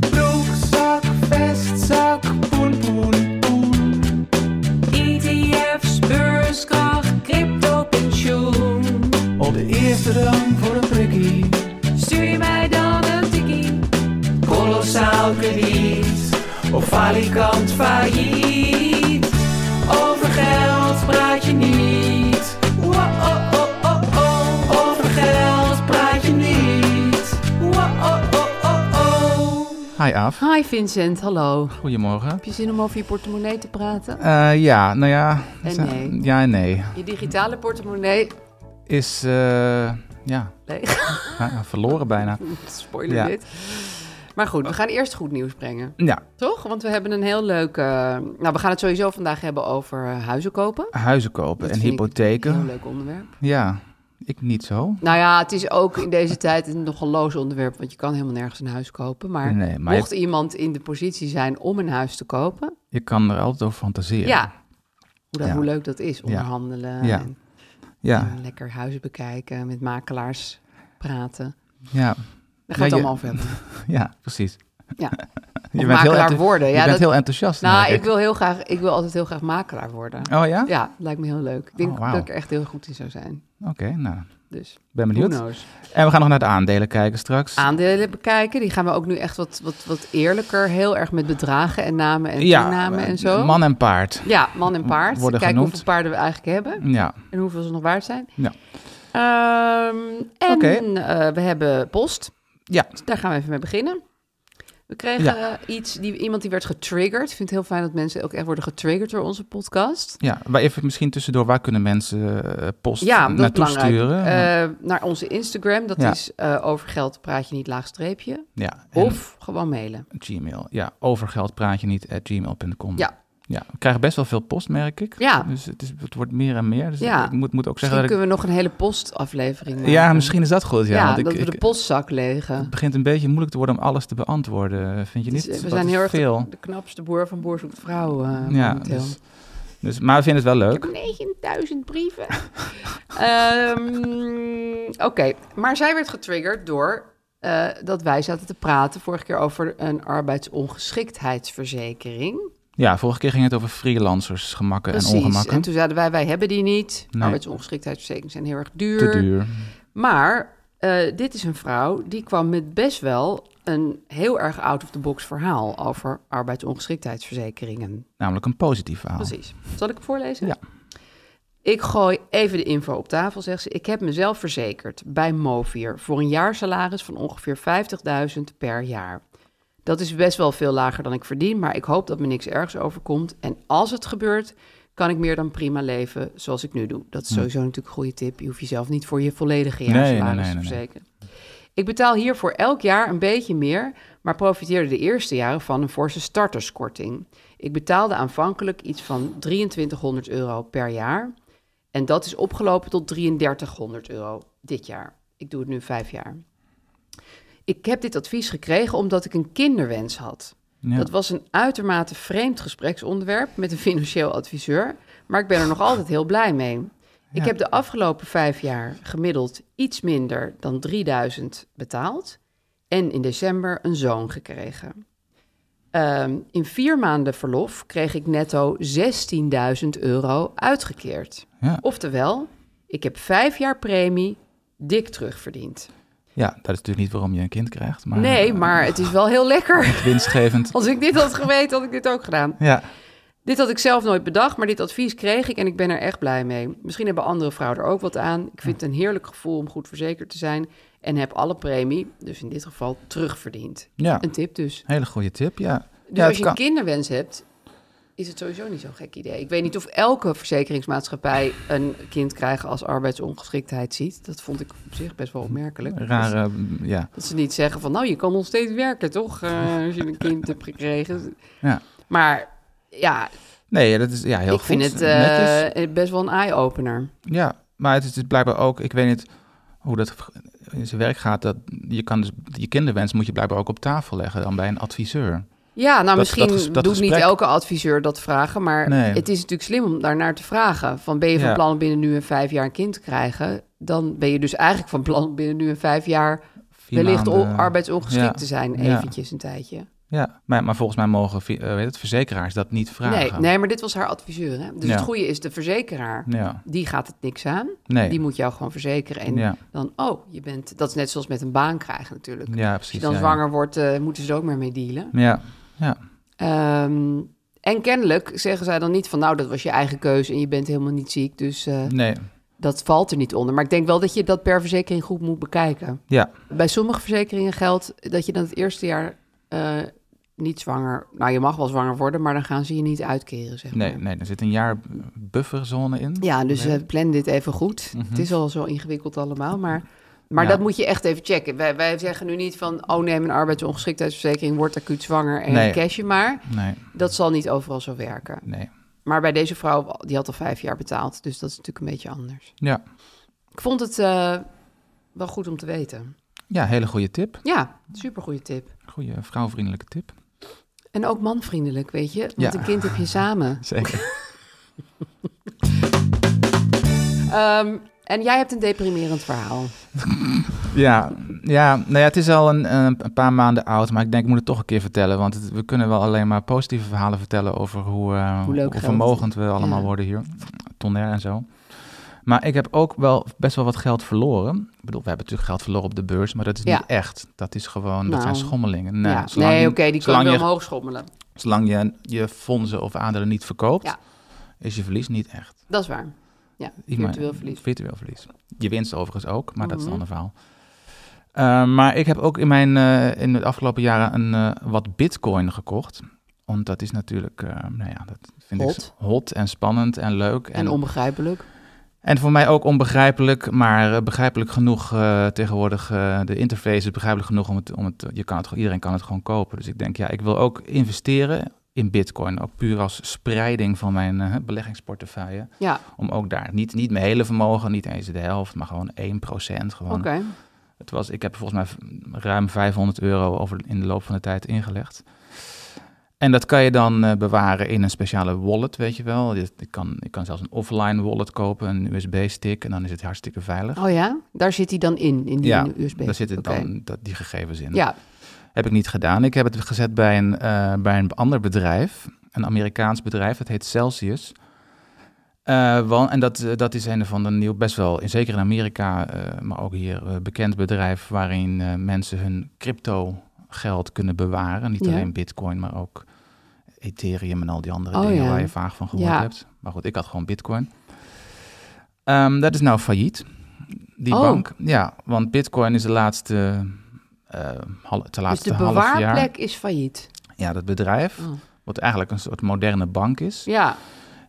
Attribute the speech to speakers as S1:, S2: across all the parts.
S1: Broekzak, vestzak, poen, poen, poen. ETF's, beurskracht, crypto, pensioen.
S2: Op de eerste rang voor een prikkie.
S1: Stuur je mij dan een tikkie? Kolossaal krediet. Of falikant failliet. Over geld praat je niet. oh, Wow-oh-oh-oh-oh. oh. Over geld praat je niet. oh, Wow-oh-oh-oh-oh.
S3: Hi Af,
S4: Hi Vincent, hallo. Heb
S3: goedemorgen.
S4: je zin om over je portemonnee te praten?
S3: Eh, ja, nou ja.
S4: En
S3: ze-
S4: nee.
S3: Ja en nee.
S4: Je digitale portemonnee
S3: Is, eh, ja,
S4: leeg.
S3: eh, verloren bijna.
S4: Spoiler
S3: Ja.
S4: dit. Maar goed, we gaan eerst goed nieuws brengen.
S3: Ja,
S4: Toch? Want we hebben een heel leuk... eh, nou, we gaan het sowieso vandaag hebben over eh, huizen kopen.
S3: huizen kopen
S4: Dat
S3: en
S4: vind ik
S3: hypotheken.
S4: Een heel leuk onderwerp.
S3: Ja, ik niet zo.
S4: Nou ja, het is ook in deze tijd een nogal loos onderwerp, want je kan helemaal nergens een huis kopen. Maar,
S3: Nee, maar
S4: mocht iemand in de positie zijn om een huis te kopen,
S3: Je kan er altijd over fantaseren.
S4: ja, hoe, dat-
S3: Ja.
S4: hoe leuk dat is, onderhandelen
S3: Ja.
S4: en
S3: Ja,
S4: En Eh, lekker huizen bekijken, met makelaars praten.
S3: ja,
S4: Daar
S3: Ja,
S4: gaat
S3: je-
S4: het allemaal over hebben.
S3: ja, precies.
S4: Ja.
S3: Je
S4: makelaar
S3: enthou-
S4: worden,
S3: Je
S4: ja,
S3: bent
S4: dat-
S3: heel enthousiast.
S4: Nou,
S3: merk
S4: ik wil, heel graag, ik wil altijd heel graag makelaar worden.
S3: Oh ja?
S4: Ja, lijkt me heel leuk. Ik denk
S3: Oh, wauw.
S4: dat ik er echt heel goed in zou zijn.
S3: Oké, nou,
S4: Dus,
S3: ben
S4: who
S3: benieuwd.
S4: knows.
S3: En we gaan nog naar de aandelen kijken straks.
S4: Aandelen bekijken, die gaan we ook nu echt wat, wat, wat eerlijker. Heel erg met bedragen en namen en toenamen
S3: eh,
S4: en zo.
S3: man en paard.
S4: ja, man en paard.
S3: Worden
S4: Kijken
S3: genoemd. Mm.
S4: hoeveel paarden we eigenlijk hebben
S3: Ja,
S4: en hoeveel ze nog waard zijn.
S3: ja.
S4: Ehm, en
S3: Oké.
S4: eh, we hebben post.
S3: Ja,
S4: Daar gaan we even mee beginnen. We kregen
S3: Ja.
S4: eh, iets, die, iemand die werd getriggerd. Ik vind het heel fijn dat mensen ook echt worden getriggerd door onze podcast.
S3: ja. Maar even misschien tussendoor, waar kunnen mensen eh, post
S4: Ja, dat is
S3: naartoe
S4: belangrijk.
S3: sturen?
S4: Eh, naar onze Instagram, dat
S3: Ja.
S4: is eh, over geld praat je niet laagstreepje.
S3: ja, en-
S4: Of gewoon mailen.
S3: Gmail. Ja, over geld praat je niet at gmail.com.
S4: Ja.
S3: Ja, we krijgen best wel veel post, merk ik.
S4: Ja.
S3: Dus het, is, het wordt meer en meer. Dus
S4: Ja.
S3: ik moet, moet ook
S4: Misschien
S3: zeggen dat
S4: kunnen we nog een hele postaflevering
S3: ik...
S4: maken.
S3: Ja, misschien is dat goed. Ja,
S4: Ja,
S3: want ik,
S4: dat we
S3: ik-
S4: de postzak legen.
S3: het begint een beetje moeilijk te worden om alles te beantwoorden, vind je
S4: Dus,
S3: niet?
S4: eh, we
S3: Dat
S4: zijn
S3: is
S4: heel erg
S3: veel.
S4: de, de knapste boer van Boer zoekt vrouw eh,
S3: ja,
S4: momenteel.
S3: dus, dus, maar we vinden het wel leuk.
S4: 9000 brieven. Ehm, Oké, maar zij werd getriggerd door eh, dat wij zaten te praten vorige keer over een arbeidsongeschiktheidsverzekering.
S3: Ja, vorige keer ging het over freelancers, gemakken en
S4: Precies.
S3: ongemakken.
S4: En toen zeiden wij, wij hebben die niet.
S3: Nee.
S4: Arbeidsongeschiktheidsverzekeringen zijn heel erg duur.
S3: Te duur.
S4: Maar eh, dit is een vrouw die kwam met best wel een heel erg out-of-the-box verhaal over arbeidsongeschiktheidsverzekeringen.
S3: Namelijk een positief verhaal.
S4: Precies. Zal ik het voorlezen?
S3: Ja.
S4: Ik gooi even de info op tafel, zegt ze. Ik heb mezelf verzekerd bij Movier voor een jaarsalaris van ongeveer 50.000 per jaar. Dat is best wel veel lager dan ik verdien, maar ik hoop dat me niks ergs overkomt. En als het gebeurt, kan ik meer dan prima leven zoals ik nu doe. Dat is sowieso natuurlijk een goede tip. Je hoeft jezelf niet voor je volledige
S3: Hm. Nee, nee,
S4: jaarsalaris
S3: nee, nee,
S4: te
S3: nee.
S4: verzekeren. Ik betaal hiervoor elk jaar een beetje meer, maar profiteerde de eerste jaren van een forse starterskorting. Ik betaalde aanvankelijk iets van 2300 euro per jaar. En dat is opgelopen tot 3300 euro dit jaar. Ik doe het nu vijf jaar. Ik heb dit advies gekregen omdat ik een kinderwens had.
S3: Ja.
S4: Dat was een uitermate vreemd gespreksonderwerp met een financieel adviseur, maar ik ben er nog altijd heel blij mee. Ik heb de afgelopen vijf jaar gemiddeld iets minder dan 3000 betaald en in december een zoon gekregen. Ehm, in vier maanden verlof kreeg ik netto 16.000 euro uitgekeerd.
S3: Ja.
S4: Oftewel, ik heb vijf jaar premie, dik terugverdient.
S3: Ja, dat is natuurlijk niet waarom je een kind krijgt. Maar,
S4: nee,
S3: eh,
S4: maar het is wel heel lekker.
S3: Winstgevend.
S4: Als ik dit had geweten, had ik dit ook gedaan.
S3: Ja,
S4: Dit had ik zelf nooit bedacht, maar dit advies kreeg ik en ik ben er echt blij mee. Misschien hebben andere vrouwen er ook wat aan. Ik vind het een heerlijk gevoel om goed verzekerd te zijn en heb alle premie, dus in dit geval, terugverdiend.
S3: ja.
S4: Een tip dus.
S3: hele goede tip, ja.
S4: Dus
S3: ja,
S4: als
S3: het
S4: je een kinderwens hebt, is het sowieso niet zo'n gek idee. Ik weet niet of elke verzekeringsmaatschappij een kind krijgen als arbeidsongeschiktheid ziet. Dat vond ik op zich best wel opmerkelijk.
S3: Rare, mm, ja.
S4: Dat ze niet zeggen van, nou, je kan nog steeds werken, toch? eh, als je een kind hebt gekregen.
S3: Ja.
S4: Maar ja,
S3: Nee, dat is ja, heel
S4: ik
S3: goed.
S4: vind het
S3: Netjes.
S4: eh, best wel een eye-opener.
S3: Ja, maar het is dus blijkbaar ook, ik weet niet hoe dat in zijn werk gaat, dat je kan dus, je kinderwens moet je blijkbaar ook op tafel leggen dan bij een adviseur.
S4: Ja, nou
S3: dat
S4: misschien
S3: ges- dat
S4: doet niet
S3: gesprek-
S4: elke adviseur dat vragen, maar
S3: Nee.
S4: het is natuurlijk slim om daarnaar te vragen. Van ben je van
S3: Ja.
S4: plan om binnen nu en vijf jaar een kind te krijgen? Dan ben je dus eigenlijk van plan om binnen nu en vijf jaar
S3: Vier
S4: wellicht
S3: maanden-
S4: on- arbeidsongeschikt
S3: Ja.
S4: te zijn,
S3: Ja.
S4: eventjes een tijdje.
S3: Ja, maar, maar volgens mij mogen vi- eh, weet het, verzekeraars dat niet
S4: Nee,
S3: vragen.
S4: nee, maar dit was haar adviseur. Hè? Dus
S3: Ja.
S4: het goede is de verzekeraar.
S3: Ja,
S4: Die gaat het niks aan.
S3: nee.
S4: Die moet jou gewoon verzekeren. En
S3: ja,
S4: dan, oh, je bent... Dat is net zoals met een baan krijgen natuurlijk.
S3: ja,
S4: Als je
S3: precies.
S4: dan
S3: ja, ja.
S4: zwanger wordt, eh, moeten ze er ook maar mee dealen.
S3: Ja,
S4: Ehm, en kennelijk zeggen zij dan niet van... nou, dat was je eigen keuze en je bent helemaal niet ziek. Dus eh,
S3: nee.
S4: dat valt er niet onder. Maar ik denk wel dat je dat per verzekering goed moet bekijken.
S3: Ja,
S4: Bij sommige verzekeringen geldt dat je dan het eerste jaar eh, niet zwanger... Nou, je mag wel zwanger worden, maar dan gaan ze je niet uitkeren, zeg
S3: nee,
S4: maar.
S3: nee. Er zit een jaar bufferzone in.
S4: Ja, dus eh, plan dit even goed. Het is al zo ingewikkeld allemaal, maar... Maar
S3: Mhm. Ja.
S4: dat moet je echt even checken. Wij, wij zeggen nu niet van... oh, neem een arbeidsongeschiktheidsverzekering... word acuut zwanger en
S3: Nee.
S4: cash je maar.
S3: Nee,
S4: Dat zal niet overal zo werken.
S3: nee.
S4: Maar bij deze vrouw, die had al vijf jaar betaald. Dus dat is natuurlijk een beetje anders.
S3: Ja,
S4: Ik vond het eh, wel goed om te weten.
S3: ja hele goede tip.
S4: Ja, supergoeie tip.
S3: Goede vrouwvriendelijke tip.
S4: En ook manvriendelijk, weet je. Want
S3: Ja.
S4: een kind heb je samen.
S3: Zeker.
S4: Ehm, en jij hebt een deprimerend verhaal.
S3: Ja, ja, nou ja, het is al een, een, een paar maanden oud, maar ik denk ik moet het toch een keer vertellen. Want het- we kunnen wel alleen maar positieve verhalen vertellen over hoe, eh,
S4: Hoe leuk geld.
S3: vermogend we allemaal
S4: Ja.
S3: worden hier. Tonner en zo. Maar ik heb ook wel best wel wat geld verloren. Ik bedoel, we hebben natuurlijk geld verloren op de beurs, maar dat is
S4: Ja.
S3: niet echt. Dat is gewoon, dat
S4: Nou.
S3: zijn schommelingen. Nou,
S4: Ja.
S3: zolang
S4: nee,
S3: je-
S4: oké, die kan
S3: zolang
S4: wel
S3: je
S4: omhoog schommelen.
S3: Zolang je je fondsen of aandelen niet verkoopt,
S4: Ja.
S3: is je verlies niet echt.
S4: Dat is waar. Ja,
S3: Ik meen-
S4: virtueel verlies. Mhm.
S3: Virtueel verlies. Je winst overigens ook, maar dat is een ander verhaal. Eh, maar ik heb ook in, mijn, eh, in de afgelopen jaren een, eh, wat bitcoin gekocht. Want dat is natuurlijk, eh, nou ja, dat vind ik
S4: Hot.
S3: s- hot en spannend en leuk.
S4: En onbegrijpelijk.
S3: En voor mij ook onbegrijpelijk, maar eh, begrijpelijk genoeg eh, tegenwoordig. eh, de interface is begrijpelijk genoeg om het, om het je kan het, gewoon- iedereen kan het gewoon kopen. Dus ik denk, ja, ik wil ook investeren in bitcoin. Ook puur als spreiding van mijn eh, beleggingsportefeuille.
S4: Ja,
S3: Om ook daar, niet, niet mijn hele vermogen, niet eens de helft, maar gewoon 1%. Gewoon.
S4: oké.
S3: Het was, ik heb volgens mij v- ruim 500 euro over, in de loop van de tijd ingelegd. En dat kan je dan eh, bewaren in een speciale wallet, weet je wel. Je- Ik kan, ik kan zelfs een offline wallet kopen, een USB-stick, en dan is het hartstikke veilig.
S4: Oh ja, daar zit hij dan in, in die
S3: ja,
S4: USB.
S3: daar zitten
S4: Oké.
S3: dan dat, die gegevens in.
S4: Ja, dus
S3: Heb ik niet gedaan. Ik heb het gezet bij een, eh, bij een ander bedrijf, een Amerikaans bedrijf, dat heet Celsius. Eh, want, en dat, eh, dat is een van de nieuw, best wel, in- zeker in Amerika, eh, maar ook hier, eh, bekend bedrijf waarin eh, mensen hun crypto geld kunnen bewaren. Niet
S4: Ja.
S3: alleen bitcoin, maar ook Ethereum en al die andere
S4: Oh,
S3: dingen
S4: ja.
S3: waar je vaag van gehoord
S4: Ja.
S3: hebt. Maar goed, ik had gewoon bitcoin. Ehm, dat is nou failliet, die
S4: Oh.
S3: bank. Ja, want bitcoin is de laatste, eh hal- te
S4: dus
S3: laatste
S4: de
S3: half jaar.
S4: bewaarplek is failliet.
S3: Ja, dat bedrijf,
S4: Oh.
S3: wat eigenlijk een soort moderne bank is,
S4: Ja,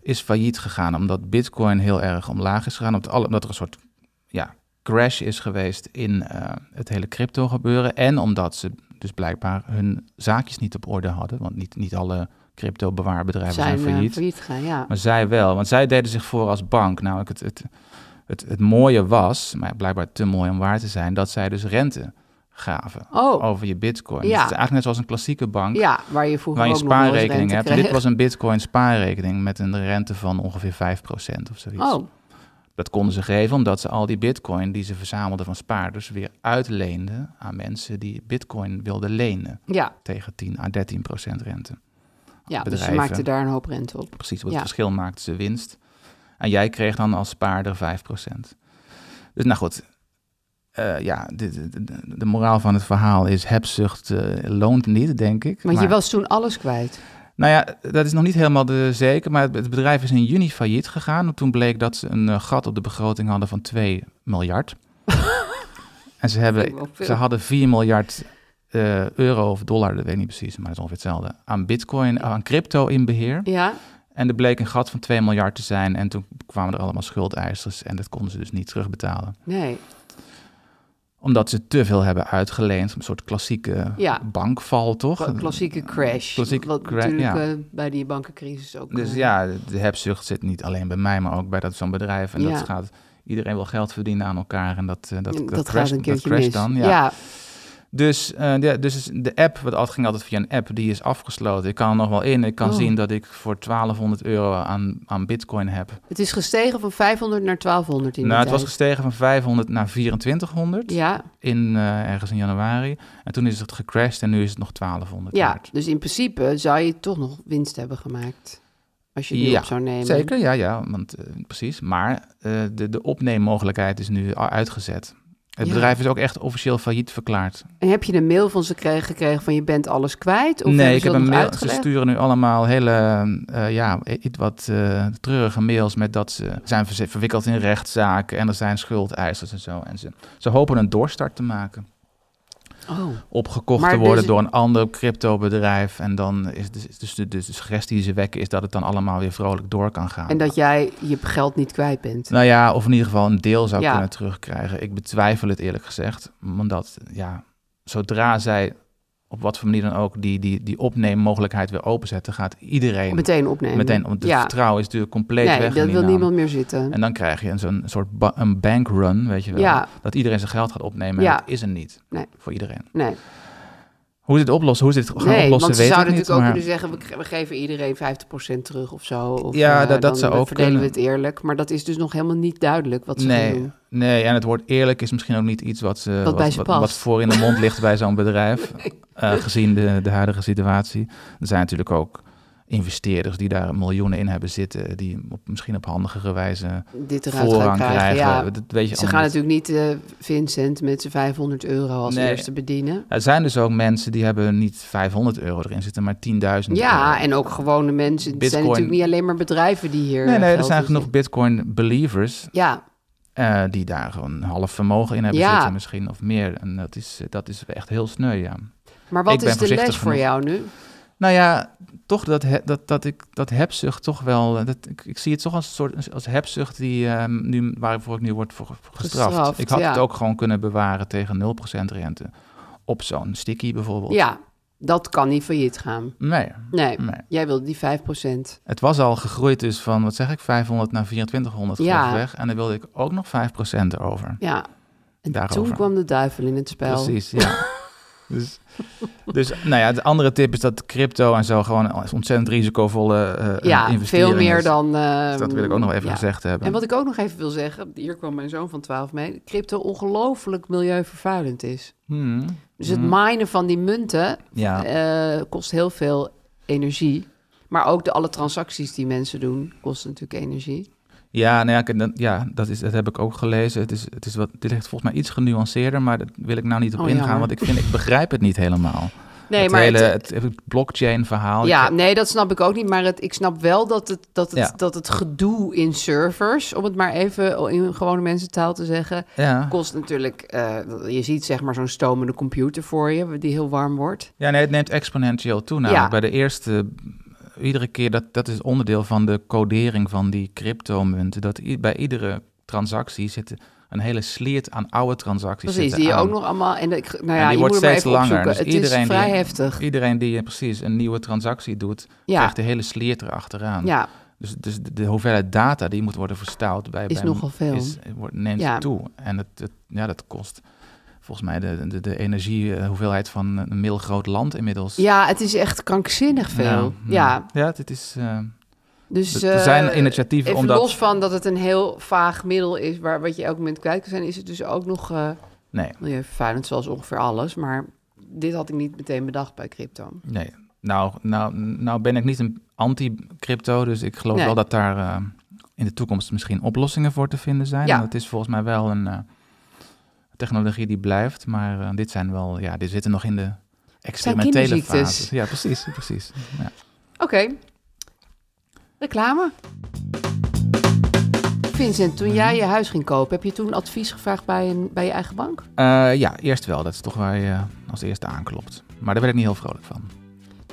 S3: is failliet gegaan omdat bitcoin heel erg omlaag is gegaan. Omdat, alle, omdat er een soort ja, crash is geweest in eh, het hele crypto gebeuren. En omdat ze dus blijkbaar hun zaakjes niet op orde hadden. Want niet, niet alle crypto bewaarbedrijven zijn,
S4: zijn eh,
S3: failliet.
S4: failliet gegaan, ja.
S3: Maar zij wel, want zij deden zich voor als bank. Namelijk het, het, het, het mooie was, maar blijkbaar te mooi om waar te zijn, dat zij dus rente gaven
S4: Oh.
S3: over je bitcoin. Dus
S4: Ja.
S3: het is eigenlijk net zoals een klassieke bank
S4: Ja, waar je vroeger
S3: waar je
S4: ook nog wel eens
S3: spaarrekening
S4: rente
S3: hebt. En dit
S4: kreeg.
S3: was een bitcoin spaarrekening met een rente van ongeveer 5% of zoiets.
S4: Oh,
S3: Dat konden ze geven omdat ze al die bitcoin die ze verzamelden van spaarders weer uitleenden aan mensen die bitcoin wilden lenen
S4: ja.
S3: tegen 10 à 13% rente.
S4: ja dus ze
S3: Bedrijven.
S4: maakten daar een hoop rente op.
S3: Precies, wat
S4: Ja.
S3: het verschil maakte ze winst. En jij kreeg dan als spaarder 5%. Dus nou goed, eh, ja, de, de, de- de moraal van het verhaal is hebzucht eh, loont niet, denk ik.
S4: Want je
S3: Maar-
S4: was toen alles kwijt.
S3: Nou ja, dat is nog niet helemaal de, zeker, maar het, het bedrijf is in juni failliet gegaan. En toen bleek dat ze een eh, gat op de begroting hadden van 2 miljard. en ze,
S4: Vind ik
S3: hebben,
S4: wel veel.
S3: ze hadden 4 miljard eh, euro of dollar, dat weet ik niet precies, maar dat is ongeveer hetzelfde, aan bitcoin, aan crypto in beheer.
S4: Ja,
S3: En er bleek een gat van 2 miljard te zijn. En toen kwamen er allemaal schuldeisers en dat konden ze dus niet terugbetalen.
S4: nee.
S3: Omdat ze te veel hebben uitgeleend. Een soort klassieke
S4: Ja.
S3: bankval, toch?
S4: Kla- Klassieke crash.
S3: Klassieke
S4: wat
S3: cra-
S4: natuurlijk
S3: ja.
S4: eh, bij die bankencrisis ook.
S3: Dus
S4: eh,
S3: ja, de hebzucht zit niet alleen bij mij, maar ook bij dat zo'n bedrijf. En
S4: Ja.
S3: dat gaat iedereen wil geld verdienen aan elkaar. En dat, eh, dat,
S4: dat,
S3: dat,
S4: gaat
S3: crasht-
S4: een
S3: dat
S4: keertje
S3: crasht
S4: mis.
S3: dan. Ja.
S4: ja,
S3: Dus, eh, ja, dus is de app, wat altijd ging altijd via een app, die is afgesloten. Ik kan er nog wel in. Ik kan
S4: Oh.
S3: zien dat ik voor 1200 euro aan, aan bitcoin heb.
S4: het is gestegen van 500 naar 1200 in
S3: nou, het
S4: die
S3: was
S4: tijd.
S3: gestegen van 500 naar 2400
S4: Ja,
S3: in, eh, ergens in januari. En toen is het gecrashed en nu is het nog 1200
S4: ja,
S3: waard.
S4: dus in principe zou je toch nog winst hebben gemaakt. Als je die
S3: Ja,
S4: op zou nemen.
S3: Zeker, ja, ja, want eh, precies. Maar eh, de, de opneemmogelijkheid is nu a- uitgezet. Het
S4: Ja.
S3: bedrijf is ook echt officieel failliet verklaard.
S4: En heb je een mail van ze kregen- gekregen van je bent alles kwijt? Of
S3: nee,
S4: hebben
S3: ik
S4: ze
S3: heb
S4: dat
S3: een
S4: nog
S3: mail. Ze
S4: uitgelegd?
S3: sturen nu allemaal hele, eh, ja, i- iets wat eh, treurige mails met dat ze zijn verze- verwikkeld in rechtszaken en er zijn schuldeisers en zo. En ze, ze hopen een doorstart te maken.
S4: Oh,
S3: Opgekocht
S4: Maar
S3: te worden
S4: dus-
S3: door een ander cryptobedrijf. En dan is de, dus de, dus de suggestie die ze wekken is dat het dan allemaal weer vrolijk door kan gaan.
S4: en dat jij je geld niet kwijt bent.
S3: Nou ja, of in ieder geval een deel zou
S4: Ja.
S3: kunnen terugkrijgen. Ik betwijfel het eerlijk gezegd. Omdat, ja, zodra zij op wat voor manier dan ook die, die, die opneemmogelijkheid weer openzetten, gaat iedereen meteen.
S4: meteen opnemen.
S3: want het
S4: ja.
S3: vertrouwen is natuurlijk compleet
S4: Nee,
S3: weg.
S4: dat
S3: in
S4: wil
S3: die naam.
S4: niemand meer zitten.
S3: En dan krijg je een, zo'n soort ba- een bankrun, weet je wel.
S4: Ja.
S3: Dat iedereen zijn geld gaat opnemen.
S4: Ja.
S3: En dat is er niet
S4: Nee.
S3: voor iedereen.
S4: Nee,
S3: Hoe ze dit oplossen, hoe ze dit gaan
S4: nee
S3: oplossen,
S4: want ze
S3: weet ik
S4: zouden
S3: niet.
S4: natuurlijk ook
S3: maar-
S4: kunnen zeggen... we ge- we geven iedereen 50% terug of zo. Of,
S3: Ja,
S4: eh,
S3: dat- dat
S4: dan
S3: zou ook
S4: verdelen we
S3: kunnen.
S4: het eerlijk. Maar dat is dus nog helemaal niet duidelijk wat ze gaan
S3: Nee,
S4: doen.
S3: nee, en het woord eerlijk is misschien ook niet iets wat, ze,
S4: Wat bij ze
S3: wat,
S4: past.
S3: voor in de mond ligt bij zo'n bedrijf, eh, gezien de, de huidige situatie. Er zijn natuurlijk ook investeerders die daar miljoenen in hebben zitten, die op, misschien op handigere wijze
S4: Dit eruit gaan
S3: voorrang
S4: krijgen,
S3: krijgen.
S4: ja.
S3: Dat weet je
S4: Ze gaan
S3: allemaal niet.
S4: natuurlijk niet eh, Vincent met zijn 500 euro als
S3: Nee.
S4: eerste bedienen.
S3: Er zijn dus ook mensen die hebben niet 500 euro erin zitten, maar 10.000
S4: Ja,
S3: euro.
S4: en ook gewone mensen. Het zijn
S3: Bitcoin.
S4: natuurlijk niet alleen maar bedrijven die hier...
S3: Nee,
S4: eh,
S3: nee, er
S4: geld
S3: zijn
S4: in
S3: genoeg
S4: zien.
S3: bitcoin-believers
S4: Ja,
S3: eh, die daar gewoon een half vermogen in hebben
S4: Ja.
S3: zitten misschien, of meer. En dat is, dat is echt heel sneu, ja.
S4: maar wat
S3: Ik ben
S4: is de les
S3: voorzichtig
S4: voor
S3: genoeg.
S4: jou nu?
S3: Nou ja, toch dat, he- dat, dat ik dat hebzucht toch wel. eh, Dat, ik, ik zie het toch als een soort als hebzucht die ehm, nu, waarvoor ik nu word voor, voor gestraft.
S4: Gestraft,
S3: Ik had
S4: ja.
S3: het ook gewoon kunnen bewaren tegen 0% rente. Op zo'n sticky bijvoorbeeld.
S4: Ja, dat kan niet failliet gaan.
S3: Nee.
S4: Nee,
S3: Nee.
S4: jij wilde die 5%.
S3: Het was al gegroeid dus van, wat zeg ik, 500 naar 2400
S4: Ja.
S3: ja. weg. En dan wilde ik ook nog 5% over.
S4: Ja. En
S3: Daarover.
S4: toen kwam de duivel in het spel.
S3: Precies, ja. dus, dus nou ja, de andere tip is dat crypto en zo gewoon een ontzettend risicovolle eh
S4: Ja,
S3: investering
S4: veel meer
S3: is.
S4: dan... ehm,
S3: Dus dat wil ik ook nog even gezegd hebben.
S4: En wat ik ook nog even wil zeggen, hier kwam mijn zoon van 12 mee, crypto ongelooflijk milieuvervuilend is.
S3: Hmm.
S4: Dus het minen van die munten
S3: Ja.
S4: eh, kost heel veel energie. Maar ook de alle transacties die mensen doen, kosten natuurlijk energie.
S3: Ja, nou ja, kijk, dan- ja dat, is, dat heb ik ook gelezen. Het is, het is wat, dit ligt volgens mij iets genuanceerder, maar daar wil ik nou niet op
S4: Oh,
S3: ingaan,
S4: jammer.
S3: want ik, vind, ik begrijp het niet helemaal.
S4: Nee,
S3: het
S4: maar
S3: hele
S4: het-
S3: het, het blockchain-verhaal.
S4: Ja,
S3: ik-
S4: nee, dat snap ik ook niet. Maar het, ik snap wel dat het, dat, het,
S3: Ja.
S4: dat het gedoe in servers, om het maar even in gewone mensentaal te zeggen,
S3: ja.
S4: kost natuurlijk. eh, je ziet zeg maar zo'n stomende computer voor je, die heel warm wordt.
S3: ja, nee, het neemt exponentieel toe. Namelijk
S4: Ja.
S3: bij de eerste, iedere keer, dat, dat is onderdeel van de codering van die cryptomunten. Dat i- bij iedere transactie zit een hele sliert aan oude transacties.
S4: Precies,
S3: zitten
S4: die je
S3: aan.
S4: ook nog allemaal. En ik, nou ja,
S3: en die
S4: je
S3: wordt
S4: moet het maar
S3: steeds
S4: even
S3: langer.
S4: opzoeken.
S3: Dus
S4: het
S3: iedereen
S4: is vrij
S3: die,
S4: heftig.
S3: Iedereen die eh, precies een nieuwe transactie doet,
S4: Ja.
S3: krijgt de hele sliert erachteraan.
S4: Ja,
S3: Dus, dus de, de hoeveelheid data die moet worden verstout bij
S4: Is
S3: bij-
S4: nogal veel.
S3: is- wordt, neemt
S4: Ja.
S3: toe. En het, het- ja, dat kost volgens mij de, de, de energiehoeveelheid van een middelgroot land inmiddels.
S4: ja, het is echt krankzinnig veel.
S3: Nou,
S4: ja.
S3: ja dit is. eh,
S4: Dus,
S3: Er- er
S4: eh,
S3: zijn initiatieven
S4: even
S3: om dat-
S4: los van dat het een heel vaag middel is... waar wat je elk moment kwijt kan zijn... is het dus ook nog eh,
S3: nee,
S4: milieuvervuilend, zoals ongeveer alles. Maar dit had ik niet meteen bedacht bij crypto.
S3: nee. Nou, nou, nou ben ik niet een anti-crypto, dus ik geloof
S4: Nee.
S3: wel dat daar eh, in de toekomst misschien oplossingen voor te vinden zijn.
S4: Ja.
S3: En het is volgens mij wel een. eh, het technologie die blijft. Maar eh, dit zijn wel, ja, die zitten nog in de experimentele
S4: kinderziektes.
S3: fase. Ja, precies, precies. Ja.
S4: Oké. Reclame. Vincent, toen jij je huis ging kopen, heb je toen advies gevraagd bij, een, bij je eigen bank?
S3: Eh, ja, eerst wel. Dat is toch waar je als eerste aanklopt. Maar daar ben ik niet heel vrolijk van.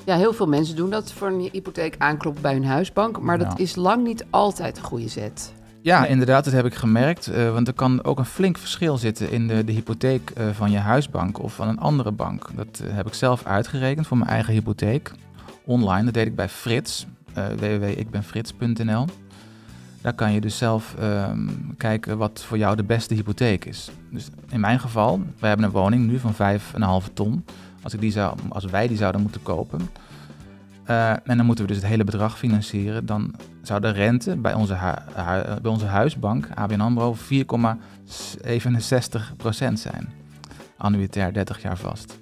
S4: Ja, heel veel mensen doen dat voor een hypotheek aankloppen bij hun huisbank. Maar dat
S3: Ja.
S4: is lang niet altijd een goede zet.
S3: Ja, inderdaad, dat heb ik gemerkt. eh, want er kan ook een flink verschil zitten in de, de hypotheek eh, van je huisbank of van een andere bank. Dat eh, heb ik zelf uitgerekend voor mijn eigen hypotheek. Online, dat deed ik bij Frits, eh www.ikbenfrits.nl. Daar kan je dus zelf ehm, kijken wat voor jou de beste hypotheek is. Dus in mijn geval, wij hebben een woning nu van 5,5 ton. Als, ik die zou, als wij die zouden moeten kopen. eh, en dan moeten we dus het hele bedrag financieren. Dan zou de rente bij onze, hu- hu- bij onze huisbank, ABN AMRO, 4,67% zijn. Annuitair 30 jaar vast.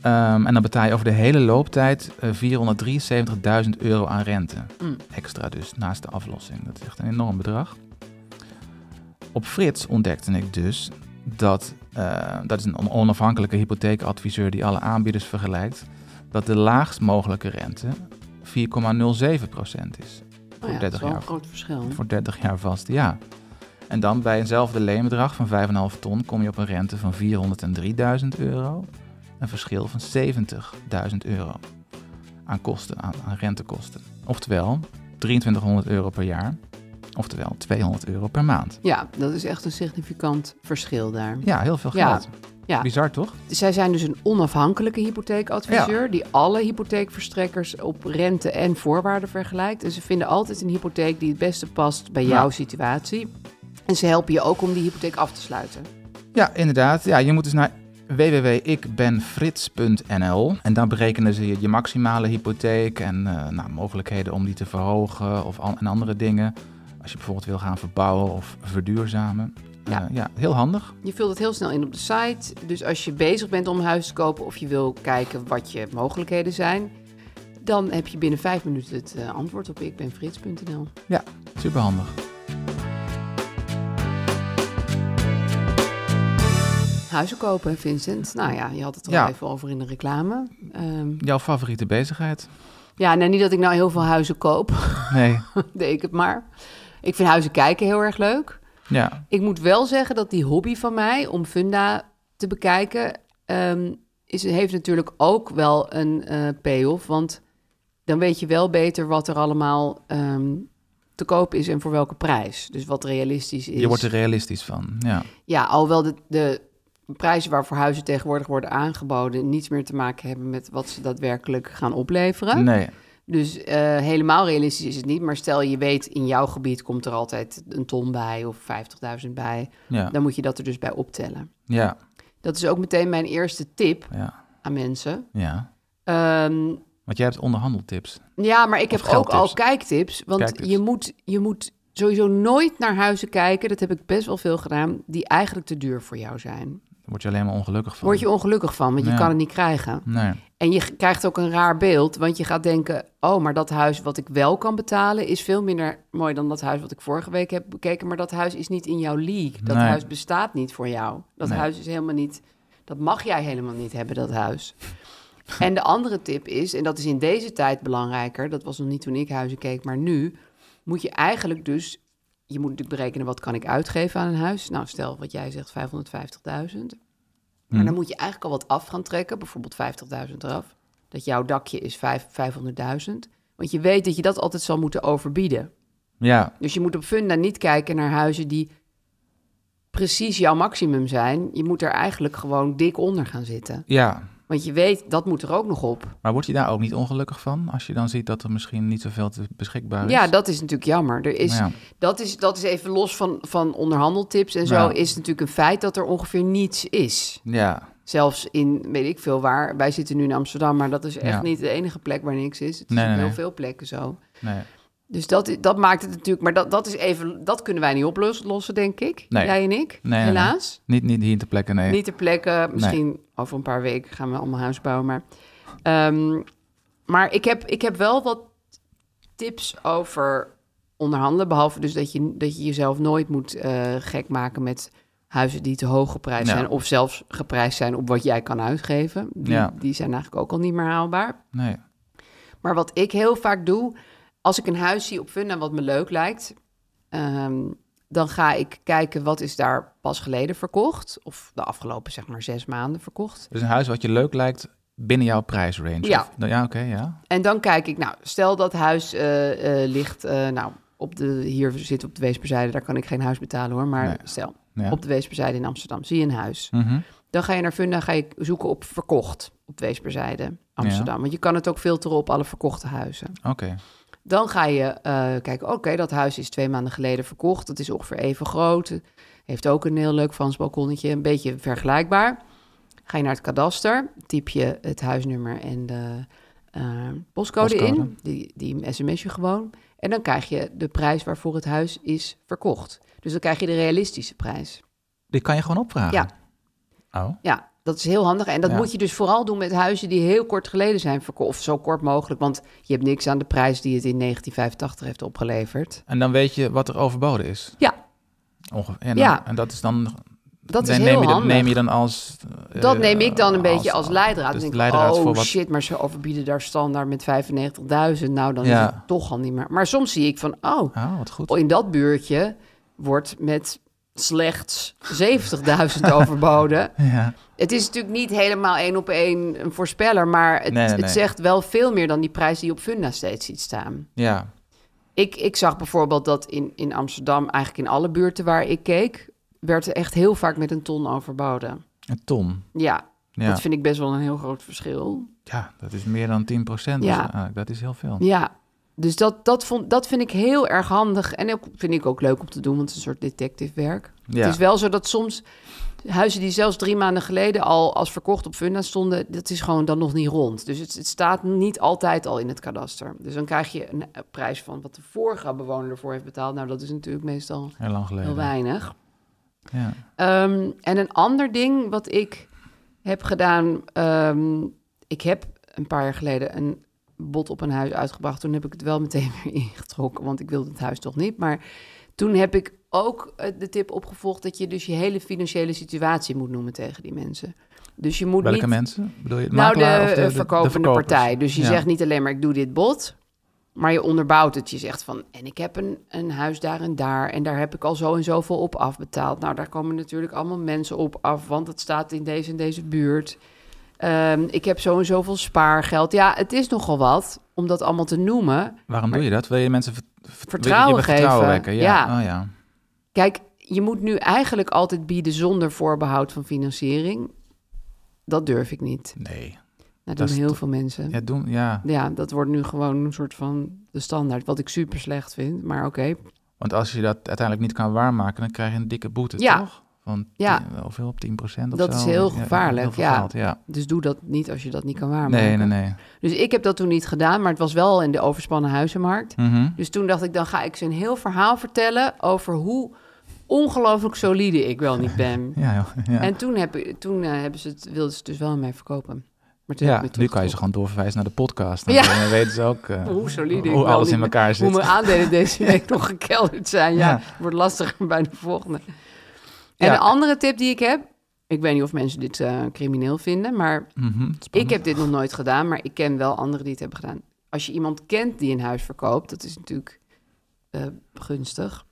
S3: Ehm, en dan betaal je over de hele looptijd eh, 473.000 euro aan rente.
S4: Mm.
S3: Extra dus, naast de aflossing. Dat is echt een enorm bedrag. Op Frits ontdekte ik dus dat, eh, dat is een on- onafhankelijke hypotheekadviseur die alle aanbieders vergelijkt, dat de laagst mogelijke rente 4,07% is.
S4: Oh ja, dat
S3: 30
S4: is wel een
S3: jaar.
S4: groot verschil.
S3: Voor 30 jaar vast, ja. En dan bij eenzelfde leenbedrag van 5,5 ton kom je op een rente van 403.000 euro. Een verschil van 70.000 euro aan kosten, aan, aan rentekosten. Oftewel 2300 euro per jaar, oftewel 200 euro per maand.
S4: Ja, dat is echt een significant verschil daar.
S3: Ja, heel veel
S4: Ja,
S3: geld.
S4: ja.
S3: Bizar toch?
S4: Zij zijn dus een onafhankelijke hypotheekadviseur die alle hypotheekverstrekkers op rente en voorwaarden vergelijkt. En ze vinden altijd een hypotheek die het beste past bij
S3: Ja.
S4: jouw situatie. En ze helpen je ook om die hypotheek af te sluiten.
S3: Ja, inderdaad. Ja, je moet dus naar www.ikbenfrits.nl en daar berekenen ze je, je maximale hypotheek en eh, nou, mogelijkheden om die te verhogen of an- en andere dingen. Als je bijvoorbeeld wil gaan verbouwen of verduurzamen.
S4: Ja.
S3: Eh, ja heel handig.
S4: Je vult het heel snel in op de site. Dus als je bezig bent om een huis te kopen of je wil kijken wat je mogelijkheden zijn, dan heb je binnen vijf minuten het eh, antwoord op ikbenfrits.nl.
S3: Ja, superhandig.
S4: Huizen kopen, Vincent. Nou ja, je had het er
S3: Ja.
S4: al even over in de reclame. Ehm,
S3: Jouw favoriete bezigheid?
S4: ja, nou niet dat ik nou heel veel huizen koop.
S3: Nee.
S4: deed ik het maar. Ik vind huizen kijken heel erg leuk.
S3: Ja,
S4: Ik moet wel zeggen dat die hobby van mij om funda te bekijken... ehm, is, heeft natuurlijk ook wel een eh payoff. Want dan weet je wel beter wat er allemaal ehm, te koop is en voor welke prijs. Dus wat realistisch is.
S3: je wordt er realistisch van. Ja.
S4: Ja, alhoewel de, de prijzen waarvoor huizen tegenwoordig worden aangeboden... niets meer te maken hebben met wat ze daadwerkelijk gaan opleveren.
S3: Nee.
S4: Dus eh, helemaal realistisch is het niet. Maar stel je weet, in jouw gebied komt er altijd een ton bij of 50.000 bij.
S3: Ja.
S4: Dan moet je dat er dus bij optellen.
S3: Ja.
S4: Dat is ook meteen mijn eerste tip
S3: Ja.
S4: aan mensen.
S3: Ja.
S4: Ehm,
S3: Want jij hebt onderhandeltips.
S4: ja, maar ik heb ook
S3: geldtips.
S4: al kijktips. Want
S3: Kijktips.
S4: Je, moet, je moet sowieso nooit naar huizen kijken. Dat heb ik best wel veel gedaan. Die eigenlijk te duur voor jou zijn.
S3: Daar word je alleen maar ongelukkig van.
S4: Word je ongelukkig van, want je
S3: Oh. Ja.
S4: kan het niet krijgen.
S3: Nee.
S4: En je g- krijgt ook een raar beeld, want je gaat denken: oh, maar dat huis wat ik wel kan betalen is veel minder mooi dan dat huis wat ik vorige week heb bekeken. Maar dat huis is niet in jouw league. Dat
S3: Nee.
S4: huis bestaat niet voor jou. Dat
S3: Nee.
S4: huis is helemaal niet. Dat mag jij helemaal niet hebben, dat huis. en de andere tip is, en dat is in deze tijd belangrijker, dat was nog niet toen ik huizen keek, maar nu moet je eigenlijk dus. Je moet natuurlijk berekenen wat kan ik uitgeven aan een huis. Nou, stel wat jij zegt, 550.000. Maar
S3: Hm.
S4: dan moet je eigenlijk al wat af gaan trekken, bijvoorbeeld 50.000 eraf. Dat jouw dakje is vijf- 500.000. Want je weet dat je dat altijd zal moeten overbieden.
S3: Ja.
S4: Dus je moet op funda niet kijken naar huizen die precies jouw maximum zijn. Je moet er eigenlijk gewoon dik onder gaan zitten.
S3: Ja.
S4: Want je weet, dat moet er ook nog op.
S3: Maar word je daar ook niet ongelukkig van als je dan ziet dat er misschien niet zoveel te beschikbaar is?
S4: Ja, dat is natuurlijk jammer. Er is,
S3: Ja.
S4: dat, is, dat is even los van, van onderhandeltips en zo.
S3: Ja.
S4: Is het natuurlijk een feit dat er ongeveer niets is.
S3: Ja,
S4: Zelfs in, weet ik veel waar. Wij zitten nu in Amsterdam, maar dat is echt
S3: Ja.
S4: niet de enige plek waar niks is. Het is
S3: Nee,
S4: op
S3: nee,
S4: heel
S3: nee.
S4: veel plekken zo.
S3: nee.
S4: Dus dat, i- dat maakt het natuurlijk... Maar dat, dat, is even, dat kunnen wij niet oplossen, denk ik.
S3: Nee.
S4: Jij en ik,
S3: Nee, nee,
S4: helaas.
S3: Niet, niet hier te plekken, nee.
S4: Niet ter plekke. Misschien over een paar weken gaan we allemaal huis bouwen. Maar, ehm, maar ik, heb, ik heb wel wat tips over onderhandelen. Behalve dus dat je, dat je jezelf nooit moet eh, gek maken met... huizen die te hoog geprijsd
S3: Ja.
S4: zijn... of zelfs geprijsd zijn op wat jij kan uitgeven. Die,
S3: Ja.
S4: die zijn eigenlijk ook al niet meer haalbaar.
S3: Nee.
S4: Maar wat ik heel vaak doe, als ik een huis zie op Funda wat me leuk lijkt, ehm, dan ga ik kijken wat is daar pas geleden verkocht. Of de afgelopen zeg maar zes maanden verkocht.
S3: Dus een huis wat je leuk lijkt binnen jouw prijsrange.
S4: Ja.
S3: Of- ja, oké, ja.
S4: En dan kijk ik, nou, stel dat huis eh, eh, ligt, eh, nou, op de, hier zit op de Weesperzijde, daar kan ik geen huis betalen hoor. Maar
S3: Nee.
S4: stel,
S3: Ja.
S4: op de Weesperzijde in Amsterdam, zie je een huis.
S3: Mhm.
S4: Dan ga je naar Funda, ga je zoeken op verkocht op de Weesperzijde Amsterdam. Want je kan het ook filteren op alle verkochte huizen.
S3: Oké.
S4: Dan ga je eh, kijken, oké, dat huis is twee maanden geleden verkocht. Dat is ongeveer even groot. Heeft ook een heel leuk Frans balkonnetje, een beetje vergelijkbaar. Ga je naar het kadaster, typ je het huisnummer en de eh, postcode,
S3: Postcode.
S4: in. Die, die sms je gewoon. En dan krijg je de prijs waarvoor het huis is verkocht. Dus dan krijg je de realistische prijs.
S3: Dit kan je gewoon opvragen.
S4: Ja,
S3: Oh.
S4: ja, dat is heel handig. En dat
S3: Ja.
S4: moet je dus vooral doen met huizen die heel kort geleden zijn verkocht. Of zo kort mogelijk, want je hebt niks aan de prijs die het in 1985 heeft opgeleverd.
S3: En dan weet je wat er overboden is.
S4: Ja,
S3: Ongeveer. En, dan-
S4: Ja.
S3: en dat is dan.
S4: Dat is
S3: neem,
S4: heel
S3: je dat,
S4: handig.
S3: neem je dan als. eh,
S4: Dat neem ik dan een beetje als, leidraad.
S3: Dus
S4: Dan denk ik,
S3: leidraad
S4: oh
S3: voor wat.
S4: shit, maar ze overbieden daar standaard met 95.000. Nou, dan
S3: Ja.
S4: is het toch al niet meer. Maar soms zie ik van, oh,
S3: Ah, wat goed.
S4: in dat buurtje wordt met slechts 70.000 overboden.
S3: Ja.
S4: Het is natuurlijk niet helemaal één op één een voorspeller, maar het,
S3: Nee, nee,
S4: het
S3: nee.
S4: zegt wel veel meer dan die prijs die je op Funda steeds ziet staan.
S3: ja.
S4: Ik, ik zag bijvoorbeeld dat in, in Amsterdam, eigenlijk in alle buurten waar ik keek, werd er echt heel vaak met een ton overboden.
S3: Een ton.
S4: Ja,
S3: Ja.
S4: dat vind ik best wel een heel groot verschil.
S3: ja, dat is meer dan 10 procent. Ah,
S4: Ja.
S3: dat is heel veel.
S4: Ja, dus dat, dat, vond, dat vind ik heel erg handig. En ook, vind ik ook leuk om te doen, want het is een soort detective werk.
S3: Ja.
S4: Het is wel zo dat soms huizen die zelfs drie maanden geleden al als verkocht op Funda stonden, dat is gewoon dan nog niet rond. Dus het, het staat niet altijd al in het kadaster. Dus dan krijg je een eh, prijs van wat de vorige bewoner ervoor heeft betaald. Nou, dat is natuurlijk meestal
S3: Heel lang geleden.
S4: heel weinig.
S3: Ja.
S4: Ehm, en een ander ding wat ik heb gedaan. ehm, ik heb een paar jaar geleden een bod op een huis uitgebracht. Toen heb ik het wel meteen weer ingetrokken, want ik wilde het huis toch niet. Maar toen heb ik ook eh, de tip opgevolgd dat je dus je hele financiële situatie moet noemen tegen die mensen. Dus je moet
S3: Welke
S4: niet...
S3: mensen? Bedoel je het
S4: Nou, de,
S3: makelaar of
S4: eh,
S3: de, de- de
S4: verkopende
S3: verkopers?
S4: partij. Dus je
S3: Ja.
S4: zegt niet alleen maar ik doe dit bod, maar je onderbouwt het. Je zegt van en ik heb een, een huis daar en daar en daar heb ik al zo en zoveel op afbetaald. Nou, daar komen natuurlijk allemaal mensen op af, want het staat in deze en deze buurt. Ehm, ik heb zo en zoveel spaargeld. Ja, het is nogal wat om dat allemaal te noemen.
S3: Waarom doe je dat? Wil je mensen ver- ver- wil je-
S4: Vertrouwen
S3: je wil vertrouwen
S4: geven.
S3: wekken? Ja.
S4: Ja.
S3: Oh, ja.
S4: Kijk, je moet nu eigenlijk altijd bieden zonder voorbehoud van financiering. Dat durf ik niet. Nou,
S3: Nee.
S4: Dat
S3: Dat
S4: doen
S3: is
S4: heel
S3: toch-
S4: veel mensen.
S3: Ja, doen, ja.
S4: Ja, dat wordt nu gewoon een soort van de standaard. Wat ik super slecht vind, maar oké.
S3: Want als je dat uiteindelijk niet kan waarmaken, dan krijg je een dikke boete,
S4: Ja.
S3: toch? Van
S4: Ja.
S3: tien- Of heel op 10 procent of
S4: Dat
S3: zo.
S4: is heel
S3: Ja, heel
S4: gevaarlijk,
S3: veel
S4: ja.
S3: geld, ja.
S4: Dus doe dat niet als je dat niet kan waarmaken.
S3: Nee, nee, nee.
S4: Dus ik heb dat toen niet gedaan, maar het was wel in de overspannen huizenmarkt.
S3: Mhm.
S4: Dus toen dacht ik, dan ga ik ze een heel verhaal vertellen over hoe ongelooflijk solide ik wel niet ben.
S3: Ja, joh, ja.
S4: En toen, heb, ik- toen eh, hebben ze het, wilden ze het dus wel aan mij verkopen. Maar toen
S3: ja,
S4: heb ik me
S3: nu kan je ze
S4: teruggetrokken.
S3: gewoon doorverwijzen naar de podcast. Dan,
S4: Ja.
S3: dan weten ze ook eh,
S4: Hoe solide ik
S3: hoe
S4: wel
S3: alles
S4: niet
S3: in
S4: ben.
S3: elkaar zit.
S4: Hoe mijn aandelen deze week nog gekelderd zijn. Ja,
S3: Ja.
S4: wordt lastiger bij de volgende. En
S3: Ja.
S4: een andere tip die ik heb... Ik weet niet of mensen dit eh, crimineel vinden, maar
S3: Mhm.
S4: ik heb dit nog nooit gedaan, maar ik ken wel anderen die het hebben gedaan. Als je iemand kent die een huis verkoopt, dat is natuurlijk eh, gunstig.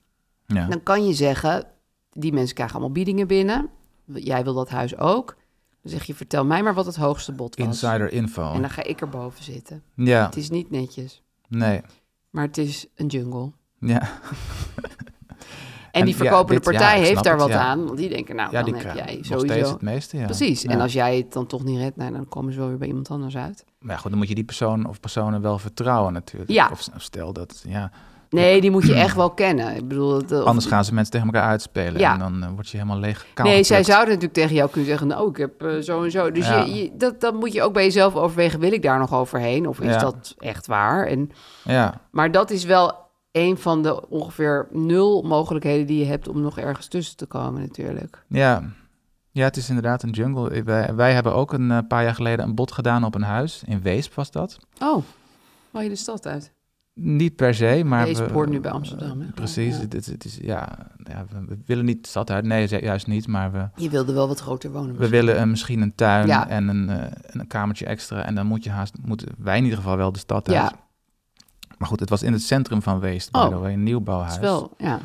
S3: Ja.
S4: Dan kan je zeggen, die mensen krijgen allemaal biedingen binnen. Jij wil dat huis ook. Dan zeg je, vertel mij maar wat het hoogste bod was.
S3: Insider info.
S4: En dan ga ik erboven zitten.
S3: Ja,
S4: Het is niet netjes,
S3: nee.
S4: maar het is een jungle.
S3: Ja.
S4: En,
S3: En
S4: die
S3: ja,
S4: verkopende
S3: dit- ja,
S4: partij
S3: ik
S4: heeft
S3: snap
S4: daar
S3: het,
S4: wat
S3: ja.
S4: aan. Want die denken, nou,
S3: ja, die
S4: dan heb
S3: krijgen
S4: jij
S3: nog steeds
S4: sowieso...
S3: het meeste. Ja.
S4: Precies,
S3: Ja.
S4: en als jij het dan toch niet redt, nou, dan komen ze wel weer bij iemand anders uit.
S3: Maar ja, goed, dan moet je die persoon of personen wel vertrouwen natuurlijk.
S4: Ja.
S3: Of, of stel dat, ja.
S4: Nee, die moet je echt wel kennen. Ik bedoel, dat, eh, of-
S3: Anders gaan ze mensen tegen elkaar uitspelen.
S4: Ja.
S3: En dan eh, word je helemaal leeg
S4: Nee, zij
S3: geplukt.
S4: zouden natuurlijk tegen jou kunnen zeggen... nou, ik heb eh, zo en zo. Dus
S3: Ja.
S4: je, je- dat, dat moet je ook bij jezelf overwegen. Wil ik daar nog overheen? Of is
S3: Ja.
S4: dat echt waar? En,
S3: Ja,
S4: maar dat is wel een van de ongeveer nul mogelijkheden... die je hebt om nog ergens tussen te komen natuurlijk.
S3: ja. Ja, het is inderdaad een jungle. Ik- Wij, wij hebben ook een eh, paar jaar geleden een bod gedaan op een huis. In Weesp was dat.
S4: Oh, haal je de stad uit?
S3: Niet per se, maar...
S4: Deze
S3: we-
S4: hoort nu bij Amsterdam, hè?
S3: Precies,
S4: Ja.
S3: Het, is- het is, ja, ja, we, we willen niet de stad uit. Nee, ze- juist niet, maar we,
S4: Je wilde wel wat groter wonen.
S3: we willen eh, misschien een tuin
S4: Ja.
S3: en een, eh, en een kamertje extra. En dan moet je haast, moeten wij in ieder geval wel de stad uit.
S4: Ja,
S3: Maar goed, het was in het centrum van Weest, by
S4: Oh.
S3: the way, een
S4: het
S3: nieuwbouwhuis.
S4: is wel, ja.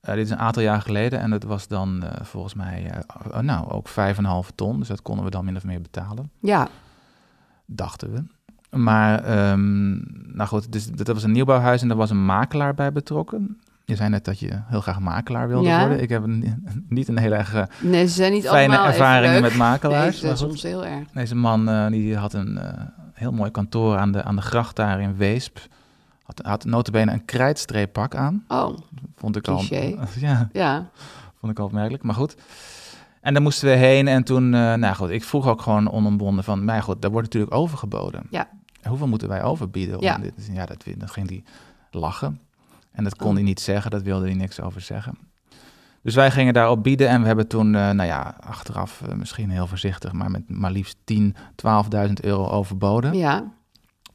S3: Eh, dit is een aantal jaar geleden en dat was dan eh, volgens mij eh, eh, nou, ook 5,5 ton. Dus dat konden we dan min of meer betalen,
S4: Ja,
S3: dachten we. Maar ehm, nou goed, dus, dat dat was een nieuwbouwhuis en daar was een makelaar bij betrokken. Je zei net dat je heel graag makelaar wilde
S4: Ja.
S3: worden. Ik heb een, niet een heel erg eh,
S4: nee, ze zijn niet
S3: fijne
S4: allemaal even
S3: ervaringen
S4: leuk.
S3: met
S4: Nee,
S3: makelaars.
S4: ze zijn
S3: maar goed.
S4: soms heel erg.
S3: Deze man eh, die had een eh, heel mooi kantoor aan de, aan de gracht daar in Weesp. Had, had notabene een krijtstreeppak aan.
S4: Oh,
S3: Vond ik al,
S4: Cliché.
S3: ja,
S4: ja.
S3: Vond ik al opmerkelijk, maar goed. En daar moesten we heen en toen, eh, nou goed, ik vroeg ook gewoon onombonden van, maar goed, daar wordt natuurlijk overgeboden.
S4: Ja.
S3: En Hoeveel moeten wij overbieden? Om
S4: Ja.
S3: dit, te zien? ja dat, dat ging die lachen. En dat
S4: Oh.
S3: kon hij niet zeggen, dat wilde hij niks over zeggen. Dus wij gingen daarop bieden en we hebben toen, eh, nou ja, achteraf eh, misschien heel voorzichtig, maar met maar liefst 10, 12.000 euro overboden.
S4: Ja,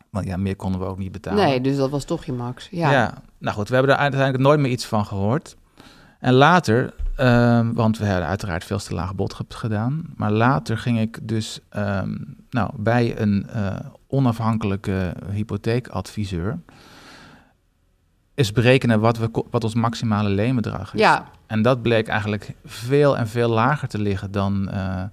S3: Want ja, meer konden we ook niet betalen.
S4: nee, dus dat was toch je max. Ja,
S3: Ja. nou goed, we hebben daar uiteindelijk nooit meer iets van gehoord. En later, ehm, want we hebben uiteraard veel te laag bod ge- gedaan. Maar later ging ik dus ehm, nou, bij een eh, onafhankelijke hypotheekadviseur. Is berekenen wat, we, ko- wat ons maximale leenbedrag is.
S4: ja.
S3: En dat bleek eigenlijk veel en veel lager te liggen dan, eh,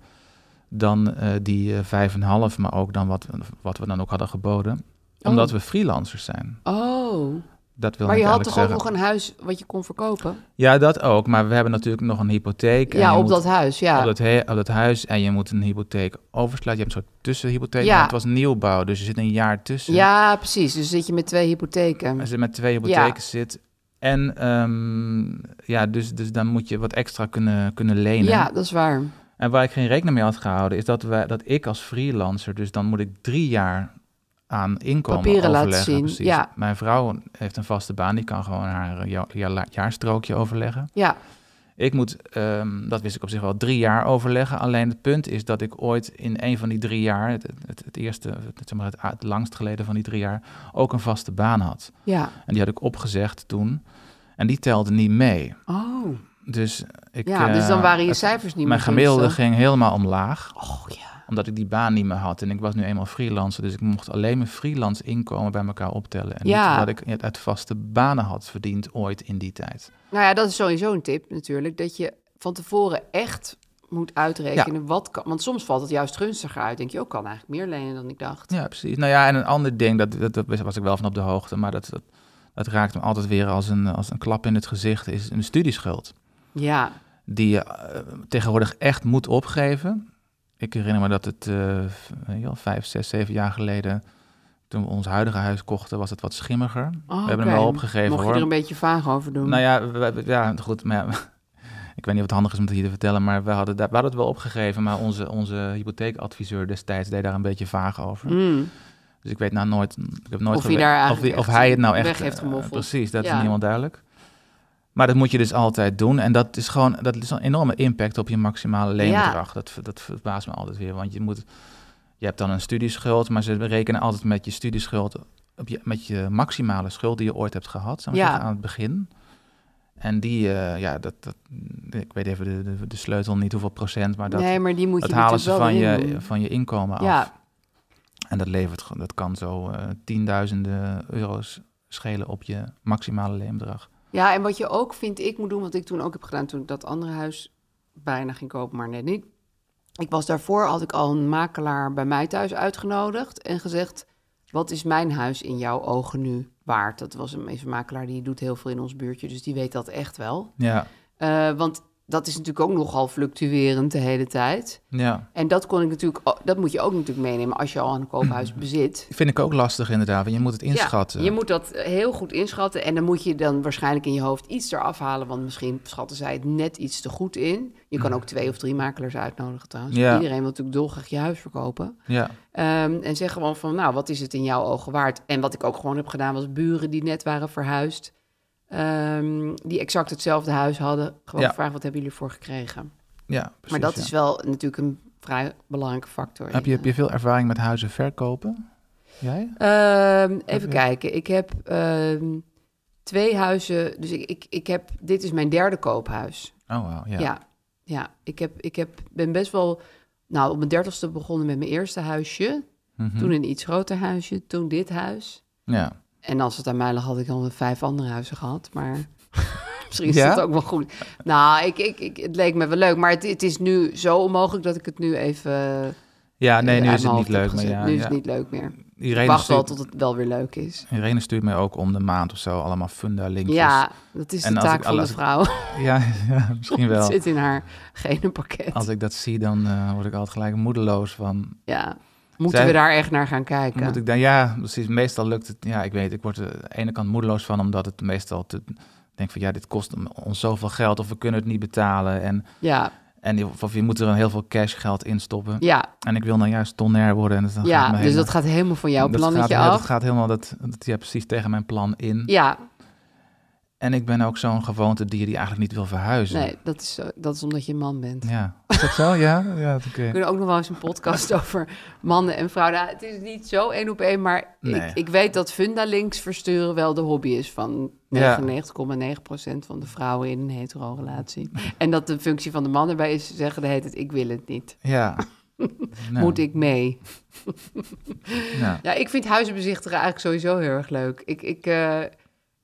S3: dan eh, die eh, 5,5, maar ook dan wat, wat we dan ook hadden geboden. Omdat we freelancers zijn.
S4: Oh,
S3: Dat wil
S4: maar je
S3: ik
S4: had
S3: eigenlijk
S4: toch
S3: zeggen.
S4: ook nog een huis wat je kon verkopen?
S3: Ja, dat ook. Maar we hebben natuurlijk nog een hypotheek. en
S4: ja,
S3: je
S4: op
S3: eh, moet-
S4: dat huis, ja.
S3: Op dat, he- op dat huis. En je moet een hypotheek oversluiten. Je hebt een soort tussenhypotheek.
S4: Ja.
S3: maar Het was nieuwbouw, dus je zit een jaar tussen.
S4: Ja, precies. Dus zit je met twee hypotheken.
S3: Als je met twee hypotheken zit. En ehm, ja, dus, dus dan moet je wat extra kunnen, kunnen lenen.
S4: Ja, dat is waar.
S3: En waar ik geen rekening mee had gehouden, is dat, wij, dat ik als freelancer, dus dan moet ik drie jaar aan inkomen
S4: Papieren laten
S3: overleggen.
S4: zien,
S3: precies.
S4: ja.
S3: Mijn vrouw heeft een vaste baan, die kan gewoon haar eh, ja- ja- jaarstrookje overleggen.
S4: Ja,
S3: Ik moet, ehm, dat wist ik op zich wel, drie jaar overleggen. Alleen het punt is dat ik ooit in een van die drie jaar, het, het, het eerste, het, zeg maar het, a- het langst geleden van die drie jaar, ook een vaste baan had.
S4: ja.
S3: En die had ik opgezegd toen. En die telde niet mee.
S4: Oh,
S3: Dus ik.
S4: ja. dus dan
S3: eh,
S4: waren je
S3: het-
S4: cijfers niet
S3: Mijn
S4: meer gunstig.
S3: gemiddelde ging helemaal omlaag,
S4: Oh ja.
S3: omdat ik die baan niet meer had. En ik was nu eenmaal freelancer, dus ik mocht alleen mijn freelance inkomen bij elkaar optellen. En
S4: Ja.
S3: niet wat ik het uit vaste banen had verdiend ooit in die tijd.
S4: Nou ja, dat is sowieso een tip natuurlijk. Dat je van tevoren echt moet uitrekenen wat kan. Want soms valt het juist gunstiger uit. Denk je, ook kan eigenlijk meer lenen dan ik dacht.
S3: Ja, precies. Nou ja, en een ander ding, dat, dat, dat was ik wel van op de hoogte, maar dat, dat, dat raakt me altijd weer als een, als een klap in het gezicht, is een studieschuld.
S4: Ja,
S3: Die je eh, tegenwoordig echt moet opgeven. Ik herinner me dat het eh, weet je wel, vijf, zes, zeven jaar geleden, toen we ons huidige huis kochten, was het wat schimmiger.
S4: Oh,
S3: we hebben
S4: oké.
S3: hem wel opgegeven
S4: mocht je
S3: hoor.
S4: er een beetje vaag over doen.
S3: Nou ja, we- we- ja goed, maar ja, ik weet niet of het handig is om het hier te vertellen, maar we hadden, daar- we hadden het wel opgegeven, maar onze, onze hypotheekadviseur destijds deed daar een beetje vaag over.
S4: Mm.
S3: Dus ik weet nou nooit, ik heb nooit
S4: Of hij
S3: gewe-
S4: daar
S3: of, die-
S4: eigenlijk
S3: of
S4: echt
S3: hij het nou
S4: weg
S3: echt
S4: heeft
S3: eh,
S4: gemoffeld.
S3: precies, dat is
S4: Ja.
S3: niet helemaal duidelijk. Maar dat moet je dus altijd doen. En dat is gewoon, dat is een enorme impact op je maximale leenbedrag. Dat, ver- dat verbaast me altijd weer. Want je moet, je hebt dan een studieschuld, maar ze rekenen altijd met je studieschuld, op je, met je maximale schuld die je ooit hebt gehad, zou ik
S4: Ja.
S3: zeggen, aan het begin. En die, eh, ja, dat, dat, ik weet even de, de, de sleutel niet hoeveel procent, maar dat,
S4: nee, maar die moet
S3: dat
S4: je
S3: halen
S4: natuurlijk
S3: ze
S4: wel
S3: van
S4: erin
S3: je,
S4: doen.
S3: van je inkomen af.
S4: Ja,
S3: En dat levert, gewoon- dat kan zo eh, tienduizenden euro's schelen op je maximale leenbedrag.
S4: Ja, en wat je ook vind ik moet doen, wat ik toen ook heb gedaan toen ik dat andere huis bijna ging kopen, maar net niet. Ik was daarvoor, had ik al een makelaar bij mij thuis uitgenodigd en gezegd, wat is mijn huis in jouw ogen nu waard? Dat was een, is een makelaar die doet heel veel in ons buurtje, dus die weet dat echt wel.
S3: Ja,
S4: Eh, want dat is natuurlijk ook nogal fluctuerend de hele tijd.
S3: ja.
S4: En dat kon ik natuurlijk, o- dat moet je ook natuurlijk meenemen als je al een koophuis bezit.
S3: Vind ik ook lastig inderdaad, want je moet het inschatten.
S4: Ja, je moet dat eh, heel goed inschatten. En dan moet je dan waarschijnlijk in je hoofd iets eraf halen. Want misschien schatten zij het net iets te goed in. Je kan ook twee of drie makelaars uitnodigen trouwens.
S3: Mm. Ja.
S4: Iedereen wil natuurlijk dolgraag je huis verkopen.
S3: ja.
S4: Ehm, en zeg gewoon van, nou, wat is het in jouw ogen waard? En wat ik ook gewoon heb gedaan, was buren die net waren verhuisd. ehm, die exact hetzelfde huis hadden. Gewoon
S3: Ja.
S4: vragen, wat hebben jullie ervoor gekregen?
S3: ja precies,
S4: maar dat
S3: ja.
S4: is wel natuurlijk een vrij belangrijke factor. eh,
S3: Heb je, heb je veel ervaring met huizen verkopen? Jij?
S4: Ehm, even
S3: Oké.
S4: kijken. Ik heb ehm, twee huizen. Dus ik, ik, ik heb. Dit is mijn derde koophuis.
S3: Oh, wauw. Ja.
S4: Ja. ja. Ik, heb, ik heb, ben best wel. Nou, op mijn dertigste begonnen met mijn eerste huisje.
S3: Mhm.
S4: Toen een iets groter huisje. Toen dit huis.
S3: ja.
S4: En als het aan mij lag, had ik al vijf andere huizen gehad. Maar misschien is
S3: Ja?
S4: dat ook wel goed. Nou, ik, ik, ik, het leek me wel leuk. Maar het, het is nu zo onmogelijk dat ik het nu even.
S3: Ja, nee, nu
S4: uit
S3: is het
S4: mijn
S3: niet
S4: hoofd heb
S3: leuk. Maar
S4: gezet.
S3: ja,
S4: nu is
S3: ja. dus
S4: het niet leuk meer. Ik
S3: Irene
S4: wacht wel
S3: stuurt,
S4: tot het wel weer leuk is.
S3: Irene stuurt mij ook om de maand of zo allemaal funda linkjes.
S4: Ja, dat is
S3: Dus En
S4: de
S3: als
S4: taak
S3: ik-
S4: van de
S3: als ik-
S4: vrouw.
S3: ja, ja, misschien
S4: Het
S3: wel.
S4: zit in haar genenpakket.
S3: Als ik dat zie, dan eh, word ik altijd gelijk moedeloos van...
S4: Ja. Moeten
S3: Zij-
S4: we daar echt naar gaan kijken?
S3: Moet ik dan, ja, precies. Meestal lukt het. Ja, ik weet, ik word er aan de ene kant moedeloos van, omdat het meestal te, ik denk van ja, dit kost ons zoveel geld of we kunnen het niet betalen. En,
S4: Ja,
S3: en of, of je moet er dan heel veel cash geld in stoppen.
S4: ja,
S3: En ik wil nou juist tonair worden. En dat dan gaat
S4: ja.
S3: me
S4: Dus
S3: helemaal-
S4: dat gaat helemaal van jouw
S3: dat
S4: plannetje
S3: gaat, ja,
S4: af.
S3: dat gaat helemaal dat, dat, ja, precies tegen mijn plan in.
S4: Ja,
S3: En ik ben ook zo'n gewoonte dier die eigenlijk niet wil verhuizen.
S4: nee, dat is, zo- dat is omdat je een man bent.
S3: Ja, is dat zo? Ja, ja oké.
S4: We kunnen ook nog wel eens een podcast over mannen en vrouwen. Nou, het is niet zo één op één, maar
S3: Nee.
S4: ik, ik weet dat fundalinks versturen wel de hobby is van 99,9%
S3: Ja.
S4: van de vrouwen in een hetero-relatie. En dat de functie van de man erbij is zeggen de heet het, ik wil het niet.
S3: Ja. Nou,
S4: Moet ik mee?
S3: ja.
S4: Ja, ik vind huizen bezichtigen eigenlijk sowieso heel erg leuk. Ik, ik, eh,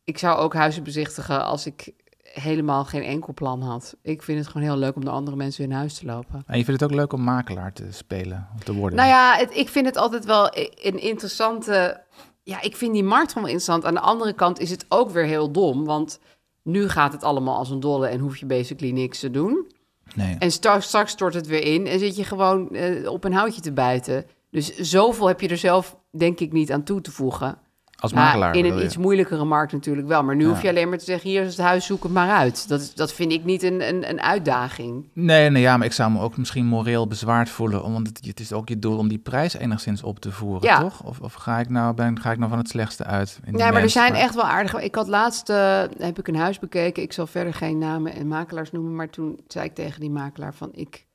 S4: ik zou ook huizen bezichtigen als ik helemaal geen enkel plan had. Ik vind het gewoon heel leuk om naar andere mensen hun huis te lopen.
S3: En je vindt het ook leuk om makelaar te spelen, of te worden?
S4: Nou ja, het, ik vind het altijd wel i- een interessante... Ja, ik vind die markt gewoon wel interessant. Aan de andere kant is het ook weer heel dom, want... Nu gaat het allemaal als een dolle en hoef je basically niks te doen.
S3: Nee.
S4: En straks, straks stort het weer in en zit je gewoon eh, op een houtje te bijten. Dus zoveel heb je er zelf, denk ik, niet aan toe te voegen.
S3: Als
S4: Ja,
S3: makelaar
S4: nou, in
S3: bedoel
S4: een
S3: je?
S4: iets moeilijkere markt natuurlijk wel. Maar nu
S3: Ja.
S4: hoef je alleen maar te zeggen, hier is het huis, zoek het maar uit. Dat, is- dat vind ik niet een, een, een uitdaging.
S3: Nee, nee, ja, maar ik zou me ook misschien moreel bezwaard voelen. om- Want het, het is ook je doel om die prijs enigszins op te voeren,
S4: Ja.
S3: toch? Of, of ga, ik nou, ben, ga ik nou van het slechtste uit? in die
S4: Nee, maar er
S3: mens?
S4: zijn echt wel aardige... Ik had laatst, eh, heb ik een huis bekeken. Ik zal verder geen namen en makelaars noemen. Maar toen zei ik tegen die makelaar van, ik,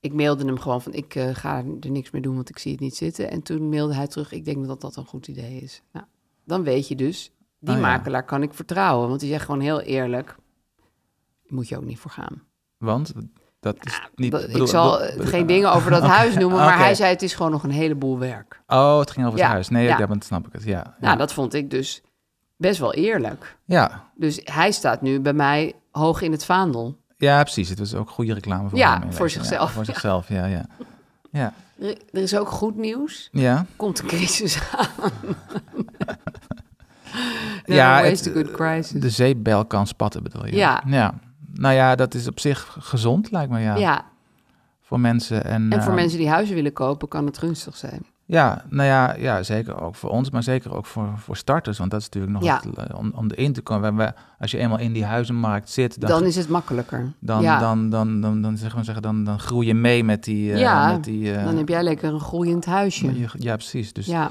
S4: ik mailde hem gewoon van... ik eh, ga er niks mee doen, want ik zie het niet zitten. En toen mailde hij terug, ik denk dat dat een goed idee is. Nou, dan weet je dus, die
S3: Ah, ja.
S4: makelaar kan ik vertrouwen. Want die zegt gewoon heel eerlijk, moet je ook niet voor gaan.
S3: Want dat is niet.
S4: Dat-
S3: bedoel-
S4: ik zal
S3: bedoel-
S4: eh, geen dingen over dat huis noemen, maar
S3: oké.
S4: hij zei het is gewoon nog een heleboel werk.
S3: Oh, het ging over het
S4: Ja,
S3: huis. Nee,
S4: ja.
S3: ja. dan snap ik het. Ja, ja.
S4: Nou, dat vond ik dus best wel eerlijk.
S3: ja.
S4: Dus hij staat nu bij mij hoog in het vaandel.
S3: Ja, precies. Het was ook goede reclame voor
S4: Ja,
S3: hem, in
S4: voor
S3: wezen.
S4: zichzelf,
S3: voor
S4: ja.
S3: zichzelf, ja, ja. Ja,
S4: Er, er is ook goed nieuws.
S3: ja.
S4: Komt een crisis aan.
S3: Ja,
S4: ja, waste
S3: het- dus
S4: a good crisis.
S3: De zeepbel kan spatten, bedoel je?
S4: Ja.
S3: ja. Nou ja, dat is op zich gezond, lijkt me, ja.
S4: ja.
S3: Voor mensen. En,
S4: en voor
S3: eh,
S4: mensen die huizen willen kopen kan het gunstig zijn.
S3: Ja, nou ja, ja, zeker ook voor ons, maar zeker ook voor, voor starters. Want dat is natuurlijk nog
S4: Ja.
S3: het, eh, om, om erin te komen. Wij- wij- als je eenmaal in die huizenmarkt zit, dan,
S4: Dan, is het makkelijker.
S3: dan,
S4: ja.
S3: dan, dan, dan, dan, zeg maar zeggen, dan, dan groei je mee met die... eh,
S4: Ja,
S3: met die eh,
S4: dan heb jij lekker een groeiend huisje.
S3: je- ja, precies. Dus
S4: ja,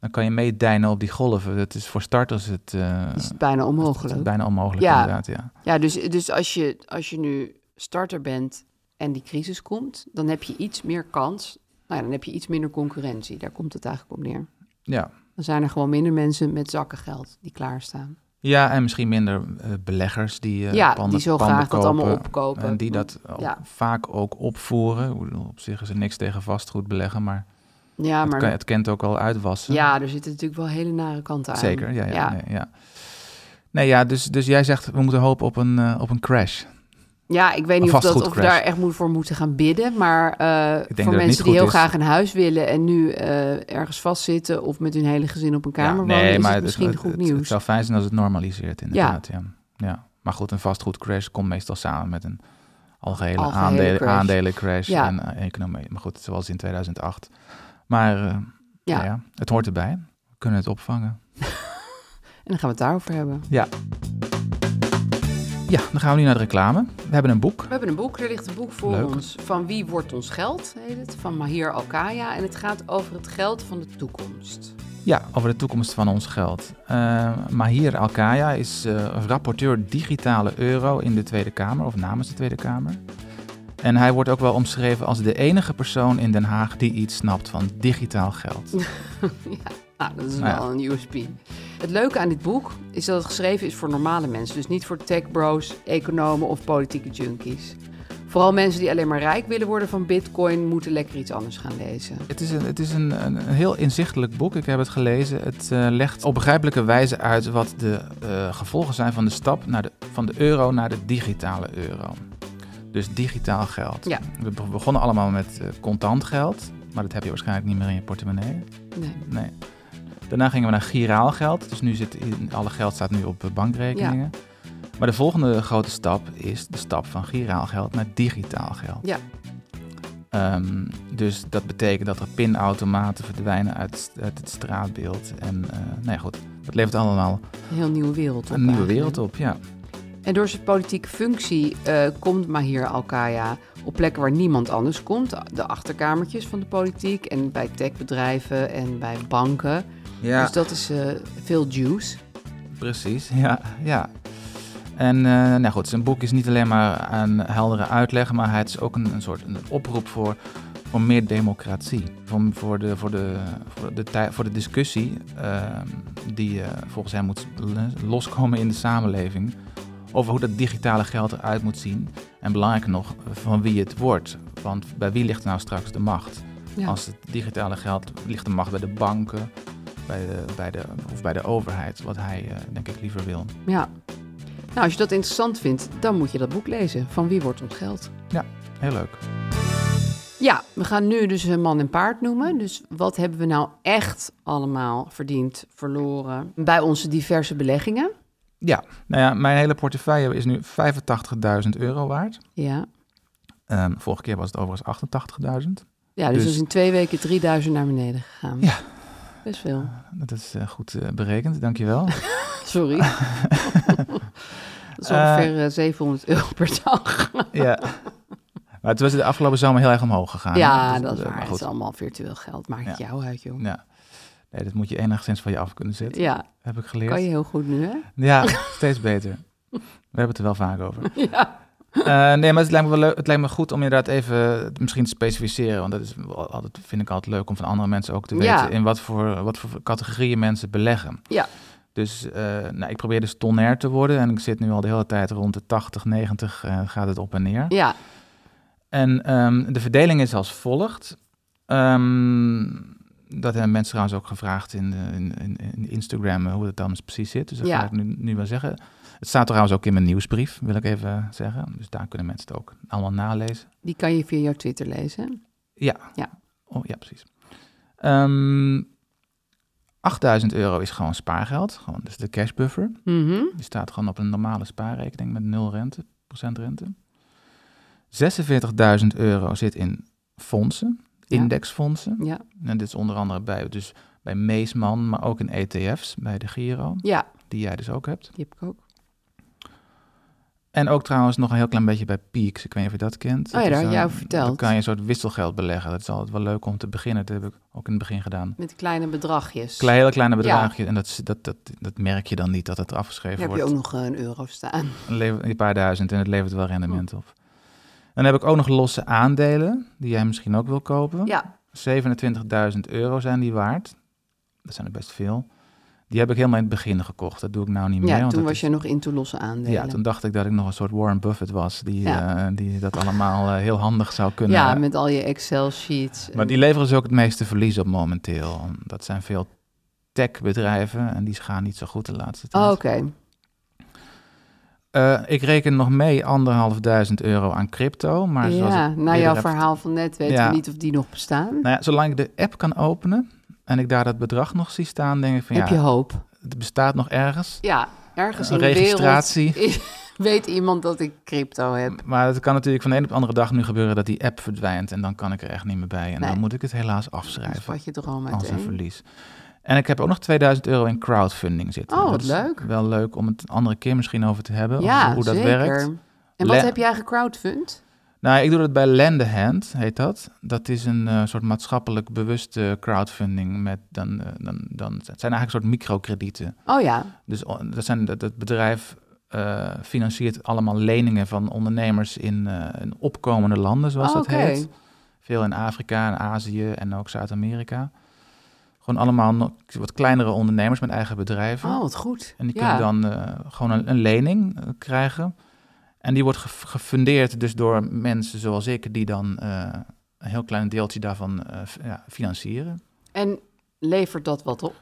S3: dan kan je meedijnen op die golven. Dat is voor starters het, eh,
S4: is het bijna
S3: het
S4: onmogelijk.
S3: bijna onmogelijk
S4: Ja.
S3: inderdaad. Ja.
S4: Ja, dus, dus als, je, als je nu starter bent en die crisis komt, dan heb je iets meer kans. Nou ja, dan heb je iets minder concurrentie. Daar komt het eigenlijk op neer.
S3: Ja.
S4: Dan zijn er gewoon minder mensen met zakken geld die klaarstaan.
S3: ja, en misschien minder eh, beleggers die eh
S4: Ja, die
S3: panden,
S4: zo graag
S3: panden
S4: dat allemaal
S3: kopen
S4: opkopen. Hm.
S3: En die dat ook
S4: Ja.
S3: vaak ook opvoeren. Ik bedoel, Op zich is er niks tegen vastgoed beleggen, maar...
S4: Ja,
S3: Het, kan-
S4: maar
S3: het kent ook al uitwassen.
S4: ja, er zitten natuurlijk wel hele nare kanten aan.
S3: Zeker, ja. ja,
S4: ja.
S3: Nee, ja. Nee, ja, dus, dus jij zegt we moeten hopen op een, eh, op een crash.
S4: Ja, ik weet niet
S3: Een
S4: of, dat, of we
S3: vastgoedcrash.
S4: daar echt moet voor moeten gaan bidden. Maar eh,
S3: denk dat
S4: voor
S3: het niet
S4: mensen
S3: goed
S4: die heel
S3: is.
S4: graag een huis willen en nu eh, ergens vastzitten of met hun hele gezin op een kamer
S3: ja,
S4: wonen, is het misschien goed nieuws.
S3: Het, zou fijn zijn als het normaliseert, inderdaad. Ja. Ja. Maar goed, een vastgoedcrash komt meestal samen met een algehele,
S4: Algehele
S3: aandelen,
S4: crash.
S3: aandeelencrash
S4: Ja.
S3: en eh, economie. Maar goed, zoals in 2008. Maar eh,
S4: Ja.
S3: ja, ja, het hoort erbij. We kunnen het opvangen.
S4: En dan gaan we het daarover hebben.
S3: Ja. Ja, dan gaan we nu naar de reclame. We hebben een boek.
S4: We hebben een boek, er ligt een boek voor
S3: Leuk.
S4: ons. Van Wie wordt ons geld? heet het. Van Mahir Alkaya. En het gaat over het geld van de toekomst.
S3: Ja, over de toekomst van ons geld. Eh Mahir Alkaya is eh, rapporteur digitale euro in de Tweede Kamer, of namens de Tweede Kamer. En hij wordt ook wel omschreven als de enige persoon in Den Haag die iets snapt van digitaal geld.
S4: ja. Nou, dat is
S3: Nou ja.
S4: wel een USP. Het leuke aan dit boek is dat het geschreven is voor normale mensen. Dus niet voor tech bros, economen of politieke junkies. Vooral mensen die alleen maar rijk willen worden van bitcoin... moeten lekker iets anders gaan lezen.
S3: Het is, een, het is een, een een heel inzichtelijk boek. Ik heb het gelezen. Het eh, legt op begrijpelijke wijze uit wat de eh, gevolgen zijn van de stap naar de, van de euro naar de digitale euro. Dus digitaal geld.
S4: Ja.
S3: We be- begonnen allemaal met eh, contant geld, maar dat heb je waarschijnlijk niet meer in je portemonnee.
S4: Nee.
S3: Nee. Daarna gingen we naar giraal geld. Dus nu zit in, alle geld staat nu op eh, bankrekeningen. Maar de volgende grote stap is de stap van giraal geld naar digitaal geld.
S4: Ja,
S3: Ehm, dus dat betekent dat er pinautomaten verdwijnen uit, uit het straatbeeld. En eh nee, goed, dat levert allemaal
S4: een heel nieuwe wereld op.
S3: een nieuwe
S4: eigenlijk.
S3: wereld op. Ja.
S4: En door zijn politieke functie eh, komt Mahir Alkaya op plekken waar niemand anders komt. De achterkamertjes van de politiek en bij techbedrijven en bij banken.
S3: ja.
S4: Dus dat is eh, veel juice.
S3: Precies, ja. ja. En eh, nou goed, zijn boek is niet alleen maar een heldere uitleg, maar het is ook een, een soort een oproep voor, voor meer democratie. Voor, voor, de, voor, de, voor, de, tij- voor de discussie ehm, die eh, volgens hem moet loskomen in de samenleving. Over hoe dat digitale geld eruit moet zien. En belangrijker nog, van wie het wordt. Want bij wie ligt nou straks de macht?
S4: Ja.
S3: Als het digitale geld ligt de macht bij de banken bij de, bij de, of bij de overheid, wat hij eh, denk ik liever wil.
S4: ja. Nou, als je dat interessant vindt, dan moet je dat boek lezen. Van wie wordt ons geld?
S3: Ja, heel leuk.
S4: Ja, we gaan nu dus een man en paard noemen. Dus wat hebben we nou echt allemaal verdiend, verloren bij onze diverse beleggingen?
S3: Ja, nou ja, mijn hele portefeuille is nu 85.000 euro waard.
S4: Ja,
S3: Ehm, vorige keer was het overigens 88.000.
S4: ja dus,
S3: Dus-
S4: dat is in twee weken 3000 naar beneden gegaan.
S3: Ja.
S4: Best veel.
S3: Dat is eh, goed eh, berekend, dankjewel.
S4: Sorry. dat is ongeveer eh, 700 euro per dag.
S3: ja. Maar het was de afgelopen zomer heel erg omhoog gegaan. hè?
S4: ja,
S3: Dus,
S4: dat is
S3: eh,
S4: waar.
S3: Maar
S4: Het
S3: goed,
S4: is allemaal virtueel geld. Maakt het
S3: Ja.
S4: jou uit, joh.
S3: ja. Nee, dat moet je enigszins van je af kunnen zetten,
S4: Ja,
S3: heb ik geleerd.
S4: kan je heel goed nu, hè?
S3: Ja, steeds beter. We hebben het er wel vaak over. Eh, nee, maar het lijkt, me wel leuk, het lijkt me goed om inderdaad even het misschien te specificeren. Want dat is wel altijd, vind ik altijd leuk om van andere mensen ook te weten...
S4: Ja.
S3: in wat voor, wat voor categorieën mensen beleggen.
S4: Ja.
S3: Dus eh, nou, ik probeer dus tonair te worden. En ik zit nu al de hele tijd rond de 80, 90 eh, gaat het op en neer.
S4: Ja,
S3: En ehm, de verdeling is als volgt. Ehm, dat hebben mensen trouwens ook gevraagd in, de- in, in, in Instagram eh, hoe dat dan precies zit. Dus dat
S4: Ja.
S3: ga ik nu, nu wel zeggen. Het staat trouwens ook in mijn nieuwsbrief, wil ik even zeggen. Dus daar kunnen mensen het ook allemaal nalezen.
S4: die kan je via jouw Twitter lezen.
S3: Ja.
S4: Ja.
S3: Oh, ja, precies. Ehm, 8000 euro is gewoon spaargeld. Gewoon, dus de cashbuffer.
S4: Mhm.
S3: Die staat gewoon op een normale spaarrekening met nul rente, procentrente. 46.000 euro zit in fondsen,
S4: Ja.
S3: indexfondsen.
S4: Ja,
S3: En dit is onder andere bij, dus bij Meesman, maar ook in ETF's, bij de Giro,
S4: ja,
S3: die jij dus ook hebt.
S4: die heb ik ook.
S3: En ook trouwens nog een heel klein beetje bij Peaks, ik weet niet of je dat kent.
S4: Oh ja, daar
S3: is
S4: had
S3: een-
S4: jij over verteld.
S3: Dan kan je een soort wisselgeld beleggen. Dat is altijd wel leuk om te beginnen. Dat heb ik ook in het begin gedaan.
S4: Met kleine bedragjes.
S3: Klein, hele kleine bedragjes. En dat, is- dat, dat, dat merk je dan niet dat het afgeschreven
S4: Daar heb
S3: wordt.
S4: je ook nog eh, een euro staan.
S3: Het levert een paar duizend en het levert wel
S4: Oh.
S3: rendement op. En dan heb ik ook nog losse aandelen, die jij misschien ook wil kopen.
S4: Ja,
S3: 27.000 euro zijn die waard. Dat zijn er best veel. Die heb ik helemaal in het begin gekocht. Dat doe ik nou niet meer.
S4: ja
S3: want
S4: toen
S3: dat
S4: was
S3: is-
S4: je nog in te losse aandelen.
S3: Ja, toen dacht ik dat ik nog een soort Warren Buffett was, die,
S4: Ja.
S3: eh, die dat allemaal eh, heel handig zou kunnen.
S4: Ja, met al je Excel-sheets.
S3: eh, Maar die leveren dus ook het meeste verlies op momenteel. Dat zijn veel techbedrijven en die gaan niet zo goed de laatste tijd.
S4: Oh, oké.
S3: Eh, ik reken nog mee anderhalfduizend euro aan crypto. Maar zoals
S4: Ja,
S3: ik
S4: na
S3: eerder
S4: jouw
S3: heb-
S4: verhaal van net weten
S3: Ja.
S4: we niet of die nog bestaan.
S3: Nou ja, zolang ik de app kan openen en ik daar dat bedrag nog zie staan, denk ik van
S4: Heb je
S3: ja,
S4: hoop?
S3: het bestaat nog ergens.
S4: Ja, ergens
S3: Een
S4: in de
S3: registratie.
S4: wereld weet iemand dat ik crypto heb.
S3: Maar het kan natuurlijk van de een op de andere dag nu gebeuren dat die app verdwijnt en dan kan ik er echt niet meer bij. En
S4: Nee.
S3: dan moet ik het helaas
S4: Dan
S3: afschrijven
S4: spat Dus je droom
S3: als een
S4: uiteen.
S3: verlies. En ik heb ook nog 2000 euro in crowdfunding zitten.
S4: Oh,
S3: Dat
S4: wat
S3: is
S4: leuk.
S3: Wel leuk om het een andere keer misschien over te hebben,
S4: Ja,
S3: over hoe dat
S4: zeker.
S3: werkt.
S4: En wat
S3: Le-
S4: heb jij gecrowdfund?
S3: Nou, ik doe dat bij Lendehand, heet dat. Dat is een eh, soort maatschappelijk bewuste crowdfunding. Met dan, eh, dan, dan, het zijn eigenlijk een soort microkredieten.
S4: Oh ja,
S3: Dus o- dat, zijn, dat, dat bedrijf eh, financiert allemaal leningen van ondernemers in, eh, in opkomende landen, zoals
S4: Oh,
S3: dat
S4: oké.
S3: heet. Veel in Afrika en Azië en ook Zuid-Amerika. Gewoon allemaal nog wat kleinere ondernemers met eigen bedrijven.
S4: Oh, wat goed.
S3: En die
S4: ja.
S3: kunnen dan eh, gewoon een, een lening eh, krijgen. En die wordt gef- gefundeerd dus door mensen zoals ik, die dan eh, een heel klein deeltje daarvan eh, f- ja, financieren.
S4: En levert dat wat op?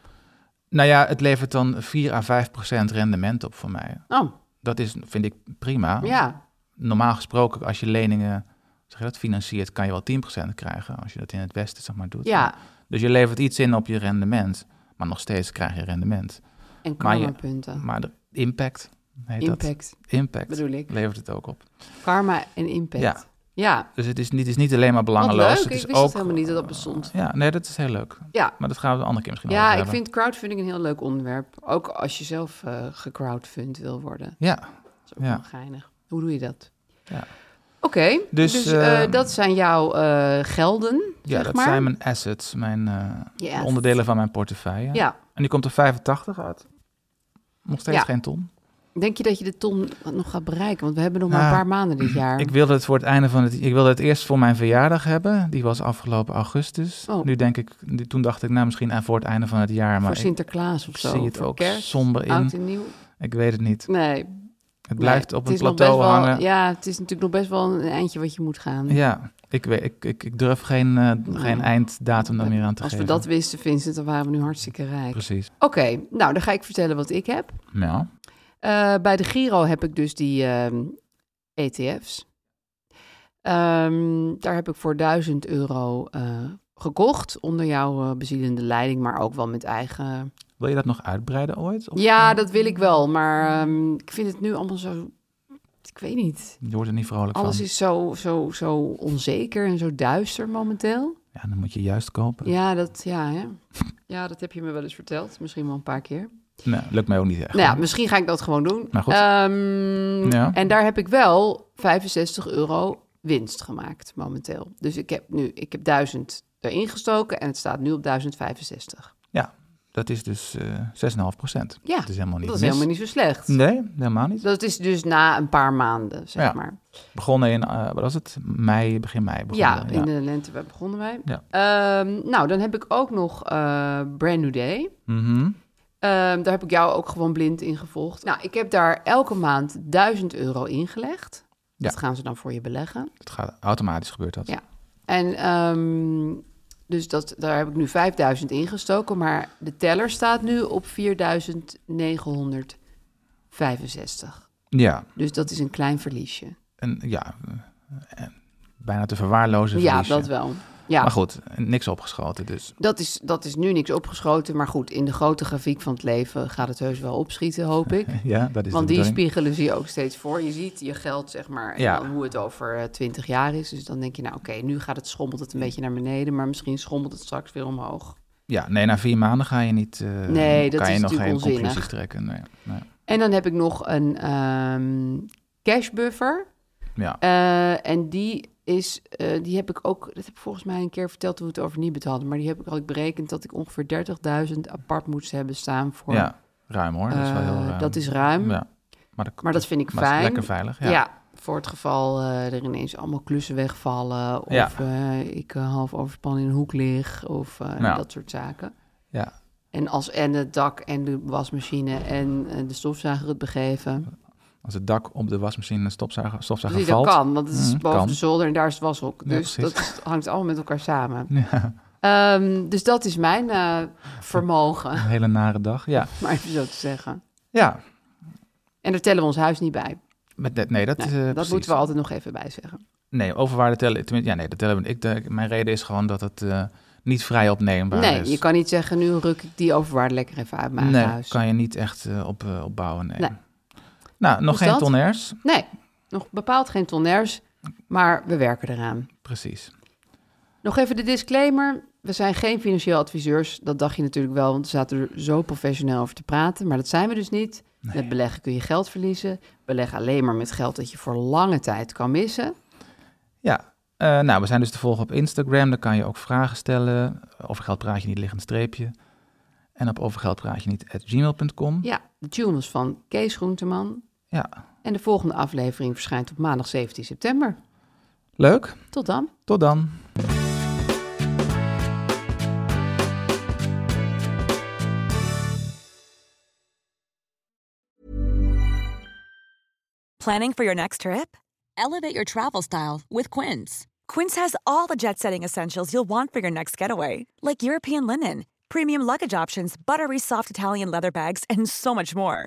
S3: Nou ja, het levert dan 4 à 5 procent rendement op voor mij.
S4: Oh,
S3: Dat is, vind ik prima.
S4: ja.
S3: Normaal gesproken, als je leningen zeg je dat, financiert, kan je wel 10 krijgen. Als je dat in het Westen zeg maar, doet.
S4: Ja.
S3: Dus je levert iets in op je rendement, maar nog steeds krijg je rendement.
S4: En
S3: Maar je-
S4: karmapunten.
S3: Maar de impact heet dat.
S4: Impact.
S3: Impact
S4: Bedoel ik.
S3: levert het ook op.
S4: Karma en impact.
S3: Ja.
S4: ja.
S3: Dus het is niet, het is niet alleen maar
S4: Wat
S3: belangeloos.
S4: leuk.
S3: het
S4: Ik
S3: is
S4: wist
S3: ook,
S4: het helemaal niet dat dat bestond.
S3: Ja, nee, dat is heel leuk.
S4: Ja.
S3: Maar dat gaan we een andere keer misschien nog
S4: Ja,
S3: over
S4: ik
S3: Nou, hebben.
S4: vind crowdfunding een heel leuk onderwerp. Ook als je zelf eh gecrowdfund wil worden.
S3: Ja,
S4: Dat is ook
S3: Ja.
S4: wel geinig. Hoe doe je dat?
S3: Ja.
S4: Oké, dus,
S3: Dus,
S4: eh,
S3: eh,
S4: dat zijn jouw eh, gelden,
S3: ja
S4: zeg
S3: dat
S4: maar.
S3: zijn mijn assets, mijn eh,
S4: Yes.
S3: onderdelen van mijn portefeuille.
S4: Ja.
S3: En die komt er 85 uit. Nog steeds
S4: Ja.
S3: geen ton.
S4: Denk je dat je de ton nog gaat bereiken? Want we hebben nog maar een
S3: Nou,
S4: paar maanden dit jaar.
S3: Ik wilde het voor het einde van het. Ik wilde het eerst voor mijn verjaardag hebben. Die was afgelopen augustus.
S4: Oh.
S3: Nu denk ik, nu- toen dacht ik, nou misschien eh, voor het einde van het jaar. Maar
S4: voor
S3: ik
S4: Sinterklaas of zo.
S3: zie het
S4: voor
S3: ook
S4: kerst,
S3: somber in.
S4: Oud en nieuw.
S3: Ik weet het niet.
S4: Nee.
S3: Het blijft
S4: nee,
S3: op
S4: het
S3: een
S4: is nog
S3: plateau
S4: best wel-
S3: hangen.
S4: ja, het is natuurlijk nog best wel een eindje wat je moet gaan.
S3: Ja, ik, weet, ik, ik, ik durf geen, eh, geen einddatum daar meer aan te
S4: Als we
S3: geven.
S4: dat wisten, Vincent, dan waren we nu hartstikke rijk. Oké,
S3: Precies.
S4: nou dan ga ik vertellen wat ik heb.
S3: Ja.
S4: Eh, bij de Giro heb ik dus die ehm, ETF's. Ehm, daar heb ik voor 1000 euro eh, gekocht onder jouw eh, bezielende leiding, maar ook wel met eigen.
S3: Wil je dat nog uitbreiden ooit? Of
S4: Ja, dat wil ik wel, maar ehm, ik vind het nu allemaal zo. Ik weet niet.
S3: Je wordt er niet vrolijk
S4: Alles
S3: van.
S4: is zo, zo, zo onzeker en zo duister momenteel.
S3: Ja, dan moet je juist kopen.
S4: Ja, dat, ja, hè. ja, dat heb je me wel eens verteld. Misschien wel een paar keer.
S3: Nee, lukt mij ook niet echt.
S4: Nou ja, misschien ga ik dat gewoon doen.
S3: Maar Nou, goed.
S4: Ehm,
S3: Ja.
S4: En daar heb ik wel 65 euro winst gemaakt momenteel. Dus ik heb nu, ik heb 1000 erin gestoken en het staat nu op 1065.
S3: Ja, dat is dus eh 6,5 procent.
S4: Ja,
S3: Dat is helemaal niet
S4: dat is
S3: mis.
S4: helemaal niet zo slecht.
S3: Nee, helemaal niet.
S4: Dat is dus na een paar maanden, zeg
S3: Ja.
S4: maar.
S3: Begonnen in, eh, wat was het? Mei, begin mei.
S4: Ja,
S3: Begonnen.
S4: in de lente begonnen wij.
S3: Ja.
S4: Ehm, nou, dan heb ik ook nog eh, Brand New Day.
S3: Mhm.
S4: Ehm, daar heb ik jou ook gewoon blind in gevolgd. Nou, ik heb daar elke maand 1000 euro ingelegd.
S3: Ja.
S4: Dat gaan ze dan voor je beleggen.
S3: Het gaat automatisch gebeurt dat.
S4: Ja. En ehm, dus dat, daar heb ik nu 5000 ingestoken, maar de teller staat nu op 4965.
S3: Ja,
S4: Dus dat is een klein verliesje.
S3: en, ja eh, eh, bijna te verwaarlozen
S4: Ja,
S3: verliesje.
S4: dat wel. Ja,
S3: Maar goed, eh, niks opgeschoten dus.
S4: dat is, dat is nu niks opgeschoten. Maar goed, in de grote grafiek van het leven gaat het heus wel opschieten, hoop ik.
S3: Ja, dat is
S4: Want
S3: de
S4: die
S3: bedoeling.
S4: spiegelen zie je ook steeds voor. Je ziet je geld, zeg maar, en
S3: Ja.
S4: dan hoe het over eh, twintig jaar is. Dus dan denk je, nou oké, nu gaat het, schommelt het een beetje naar beneden. Maar misschien schommelt het straks weer omhoog.
S3: Ja, nee, na vier maanden ga je niet. eh,
S4: Nee, dat
S3: kan je
S4: is
S3: nog geen
S4: natuurlijk onzinnig.
S3: conclusies trekken. Nee, nee.
S4: En dan heb ik nog een ehm cash buffer.
S3: Ja.
S4: Eh, en die is, eh, die heb ik ook, dat heb ik volgens mij een keer verteld toen we het over Nibet hadden. Maar die heb ik al berekend dat ik ongeveer 30.000 apart moest hebben staan voor.
S3: ja, ruim hoor. Dat is wel heel
S4: Eh,
S3: ruim.
S4: dat is ruim.
S3: Ja. Maar, dat,
S4: Maar dat vind ik
S3: maar het is
S4: fijn.
S3: Lekker veilig.
S4: Ja.
S3: Ja.
S4: voor het geval eh, er ineens allemaal klussen wegvallen. Of
S3: Ja.
S4: eh, ik eh, half overspannen in een hoek lig. Of eh,
S3: Nou.
S4: dat soort zaken.
S3: Ja.
S4: En als en het dak en de wasmachine en eh, de stofzuiger het begeven.
S3: Als het dak op de wasmachine en stofzuiger, stofzuiger
S4: Precies, dat
S3: valt.
S4: kan, want het is
S3: Mm,
S4: boven
S3: kan.
S4: de zolder en daar is het washok.
S3: Ja,
S4: Dus
S3: precies.
S4: dat is- hangt allemaal met elkaar samen.
S3: Ja,
S4: Ehm, dus dat is mijn eh, vermogen,
S3: een hele nare dag. Ja.
S4: maar even zo te zeggen.
S3: Ja.
S4: En daar tellen we ons huis niet bij.
S3: Met, dat- nee, dat,
S4: Nee,
S3: is, eh,
S4: dat
S3: precies.
S4: moeten we altijd nog even bijzeggen.
S3: Nee, overwaarde tellen. Tenminste, ja, nee, dat tellen. we- Ik, de- mijn reden is gewoon dat het eh, niet vrij opneembaar
S4: Nee,
S3: is.
S4: je kan niet zeggen, nu ruk ik die overwaarde lekker even uit mijn
S3: dus- nee,
S4: eigen huis.
S3: kan je niet echt eh, op, eh, opbouwen. Nee.
S4: Nee.
S3: Nou, nog
S4: Hoe is
S3: geen
S4: dat?
S3: tonners.
S4: Nee, nog bepaald geen tonners, maar we werken eraan.
S3: Precies.
S4: Nog even de disclaimer. We zijn geen financieel adviseurs. Dat dacht je natuurlijk wel, want we zaten er zo professioneel over te praten. Maar dat zijn we dus niet. Met beleggen kun je geld verliezen. Beleg alleen maar met geld dat je voor lange tijd kan missen.
S3: Ja, eh, nou, we zijn dus te volgen op Instagram. Daar kan je ook vragen stellen. Over geld praat je niet, liggend streepje. En op overgeldpraatje niet, at gmail.com.
S4: Ja, de tune was van Kees Groenteman.
S3: Ja,
S4: En de volgende aflevering verschijnt op maandag 17 september.
S3: leuk.
S4: Tot dan.
S3: Tot dan.
S5: Planning for your next trip?
S6: Elevate your travel style with Quince.
S5: Quince has all the jet setting essentials you'll want for your next getaway, like European linen, premium luggage options, buttery soft Italian leather bags, and so much more.